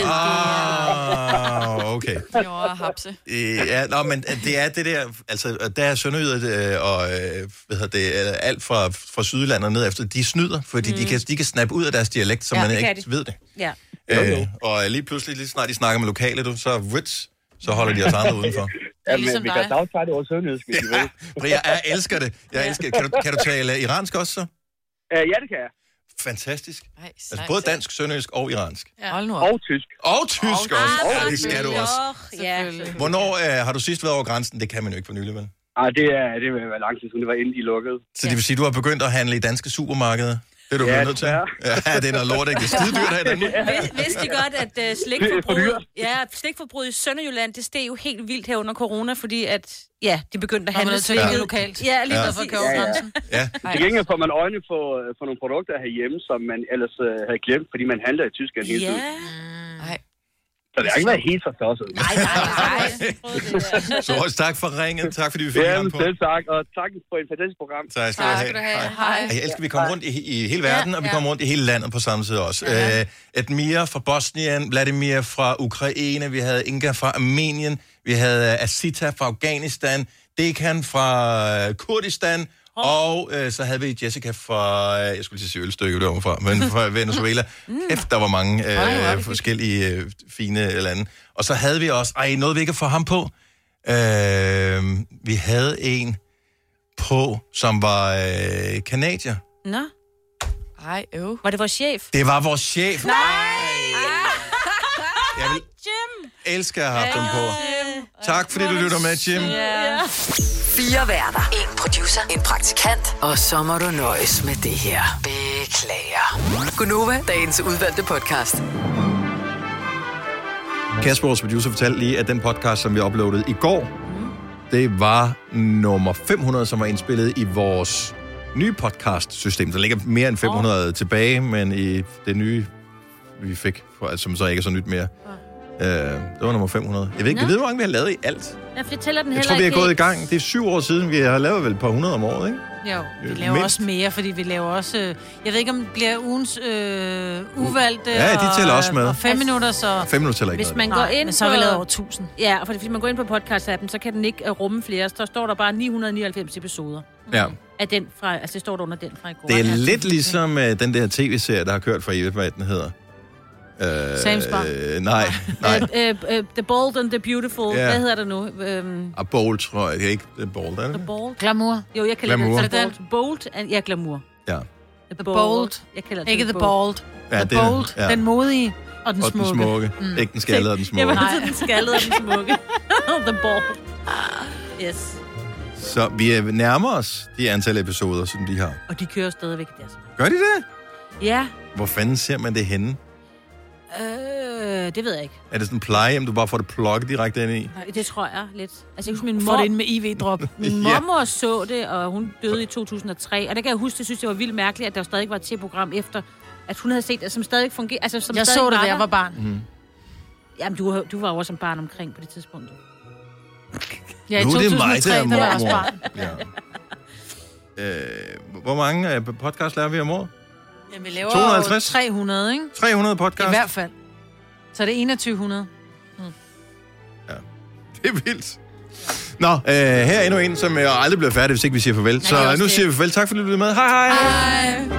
A: Ah, okay.
C: Jo, og hapse.
A: Øh, Ja, nå, men det er det der, altså, og der er sønderjyder øh, og øh, hvad hedder det, øh, alt fra, fra Sydlandet og ned efter, de snyder, fordi mm. de, kan, de kan snappe ud af deres dialekt, så
D: Ja,
A: ja, man
D: det kan
A: ikke
D: de.
A: ved det.
D: ja.
A: Øh, og lige pludselig, lige snart de snakker med lokale, du, så, wits, så holder de os andre udenfor.
L: *laughs* Ja, men vi kan dagtage det over sønderjysk, hvis I vil.
A: Bria, jeg elsker det. Jeg elsker, kan, du, kan du tale iransk også så?
L: Øh, ja, det kan jeg.
A: Fantastisk. Altså både dansk, sønderjysk og iransk.
B: Ja. Hold nu
L: Og tysk.
A: Og tysk også.
L: Ah,
A: Oh, det skal du også.
D: Ja.
A: Hvornår øh, har du sidst været over grænsen? Det kan man jo ikke for nylig, vel?
L: Ah, det er det vil være lang tid siden. Det var inden de lukkede.
A: Så det vil sige, du har begyndt at handle i danske supermarkeder? Det er du blevet nødt til. Ja, det er noget lort, ikke? Det er skidedyrt her i Danmark.
L: *laughs*
D: Vidste- Vidste I godt, at uh,
A: dyrt.
D: slikforbruget, ja, slikforbruget i Sønderjylland, det steg jo helt vildt her under corona, fordi at, ja, de begyndte
B: Var
D: at
B: man
D: handle
B: nødt til at
D: slik
B: købe lokalt?
D: Ja, lige
B: Ja.
D: ja. præcis.
B: Ja, ja.
A: Ja.
L: Til gengæld får man øjne på, øh, på nogle produkter herhjemme, som man ellers øh, havde glemt, fordi man handler i Tyskland hele tiden.
D: Nej.
L: Så det har ikke været helt så tosset.
D: Nej, nej, nej.
A: Troels, tak for ringet. Tak fordi vi fik
L: Ja,
A: ham på.
L: selv tak. Og tak for et fantastisk program.
A: Tak skal du have.
L: Hej.
A: Ej, Jeg elsker, at vi kommer rundt i, i hele verden, ja, og vi kommer rundt i hele landet på samme tid også. Ja. Øh, Edmir fra Bosnien, Vladimir fra Ukraine, vi havde Inga fra Armenien, vi havde øh, Asita fra Afghanistan, Dekan fra øh, Kurdistan, og øh, så havde vi Jessica fra, øh, jeg skulle lige sige ølstykke, det var hun fra, men *laughs* fra Venezuela. Kæft, der var mange øh, forskellige øh, fine lande. Og så havde vi også, ej, noget vi ikke får ham på. Øh, vi havde en på, som var øh, kanadier.
D: *laughs* Nå.
C: Ej, øv.
D: Var det vores chef?
A: Det var vores chef.
D: Nej!
A: Jeg vil
D: Jim!
A: elske at have haft dem på. Tak fordi du lytter med, Jim.
D: Ja.
E: Fire værter. En producer. En praktikant. Og så må du nøjes med det her. Beklager. Gunova, dagens udvalgte podcast.
A: Kasper, vores producer, fortalte lige, at den podcast, som vi uploadede i går,
D: Mm.
A: det var nummer 500, som var indspillet i vores nye podcast-system. Der ligger mere end 500 oh. tilbage, men i det nye, vi fik, for- som så ikke er så nyt mere, øh, det var nummer 500. Jeg ved ikke,
D: Nå.
A: jeg ved, hvor mange vi har lavet i alt.
D: Ja, for det tæller den
A: Jeg
D: heller
A: tror, vi er
D: ikke
A: gået i
D: helt.
A: gang. Det er syv år siden, vi har lavet vel et par hundrede om året, ikke?
B: Jo, vi
A: Øh,
B: laver
A: mindst.
B: også mere, fordi vi laver også... øh, Jeg ved ikke, om det bliver ugens øh, uvalgte
A: Ja, de tæller
B: og,
A: også med.
B: og fem minutter, så...
A: Fem minutter tæller ikke
D: Hvis
A: med.
D: man Altså, går
B: Nej,
D: ind
B: men så har vi
D: på-
B: lavet over 1000.
D: Ja, for hvis man går ind på podcast-appen, så kan den ikke øh, rumme flere. Så står der bare 999 episoder.
A: Ja.
D: Af den fra, altså det står der under den fra i går.
A: Det er lidt ligesom uh, den der tv-serie, der har kørt for evigt, hvad den hedder. Uh,
D: Sam's Bar.
A: Øh, nej, nej.
D: Øh, øh, the Bold and the Beautiful.
A: Ja.
D: Hvad hedder det nu? Øhm,
A: Og Bowl, tror jeg. Det er ikke det er Bowl, er det?
D: the Bold? Glamour. Jo, jeg kalder
A: Glamour.
D: det
A: Er
D: den. Bold. Bold. and- Ja, Glamour.
A: Ja.
D: The
B: Bold.
D: Jeg kalder det
B: Ikke The Bold.
A: Ja,
B: the
A: det er-
B: Bold.
A: ja.
B: Den modige og den
A: Og den
B: smukke.
A: smukke.
D: Mm.
A: Ikke den skaldede og
D: *laughs*
A: den smukke.
D: Jeg var altid den skaldede og den
B: *laughs*
D: smukke. the Bold. Yes.
A: Så vi er nærmer os de antal episoder, som de har.
D: Og de kører stadigvæk deres.
A: Gør de det?
D: Ja,
A: Hvor fanden ser man det henne?
D: øh, det ved jeg ikke.
A: Er det sådan en plejehjem, du bare får det plukket direkte ind
D: *laughs*
A: i?
D: Nej, Det tror jeg lidt. Altså, jeg kan huske, min
B: Får
D: mor...
B: det ind med IV-drop.
D: Min mormor så det, og hun døde i 2003. Og der kan jeg huske, det synes jeg var vildt mærkeligt, at der stadig var et tv-program efter, at hun havde set det, som stadig fungerede. Altså, som
B: Jeg
D: stadig
B: så det, da jeg
D: der.
B: var barn.
A: Mm.
D: Jamen, du, var- du var jo også som barn omkring på det tidspunkt.
B: Ja, i
A: Nu er det mig,
B: 2003,
A: der er
B: der var jeg også
A: mormor.
B: barn.
A: Ja. Øh, hvor mange øh, podcasts laver vi om året?
B: Jamen, vi laver
A: 250?
B: 250? 300, ikke?
A: 300 podcasts.
B: I hvert fald. Så er det 2100.
A: *laughs* Det er vildt. Nå, øh, her er endnu en, som jeg aldrig bliver øh, færdig, hvis ikke vi siger farvel. Så
B: det er
A: nu
B: også det.
A: siger vi farvel. Tak fordi du blev med. Hej hej. hej.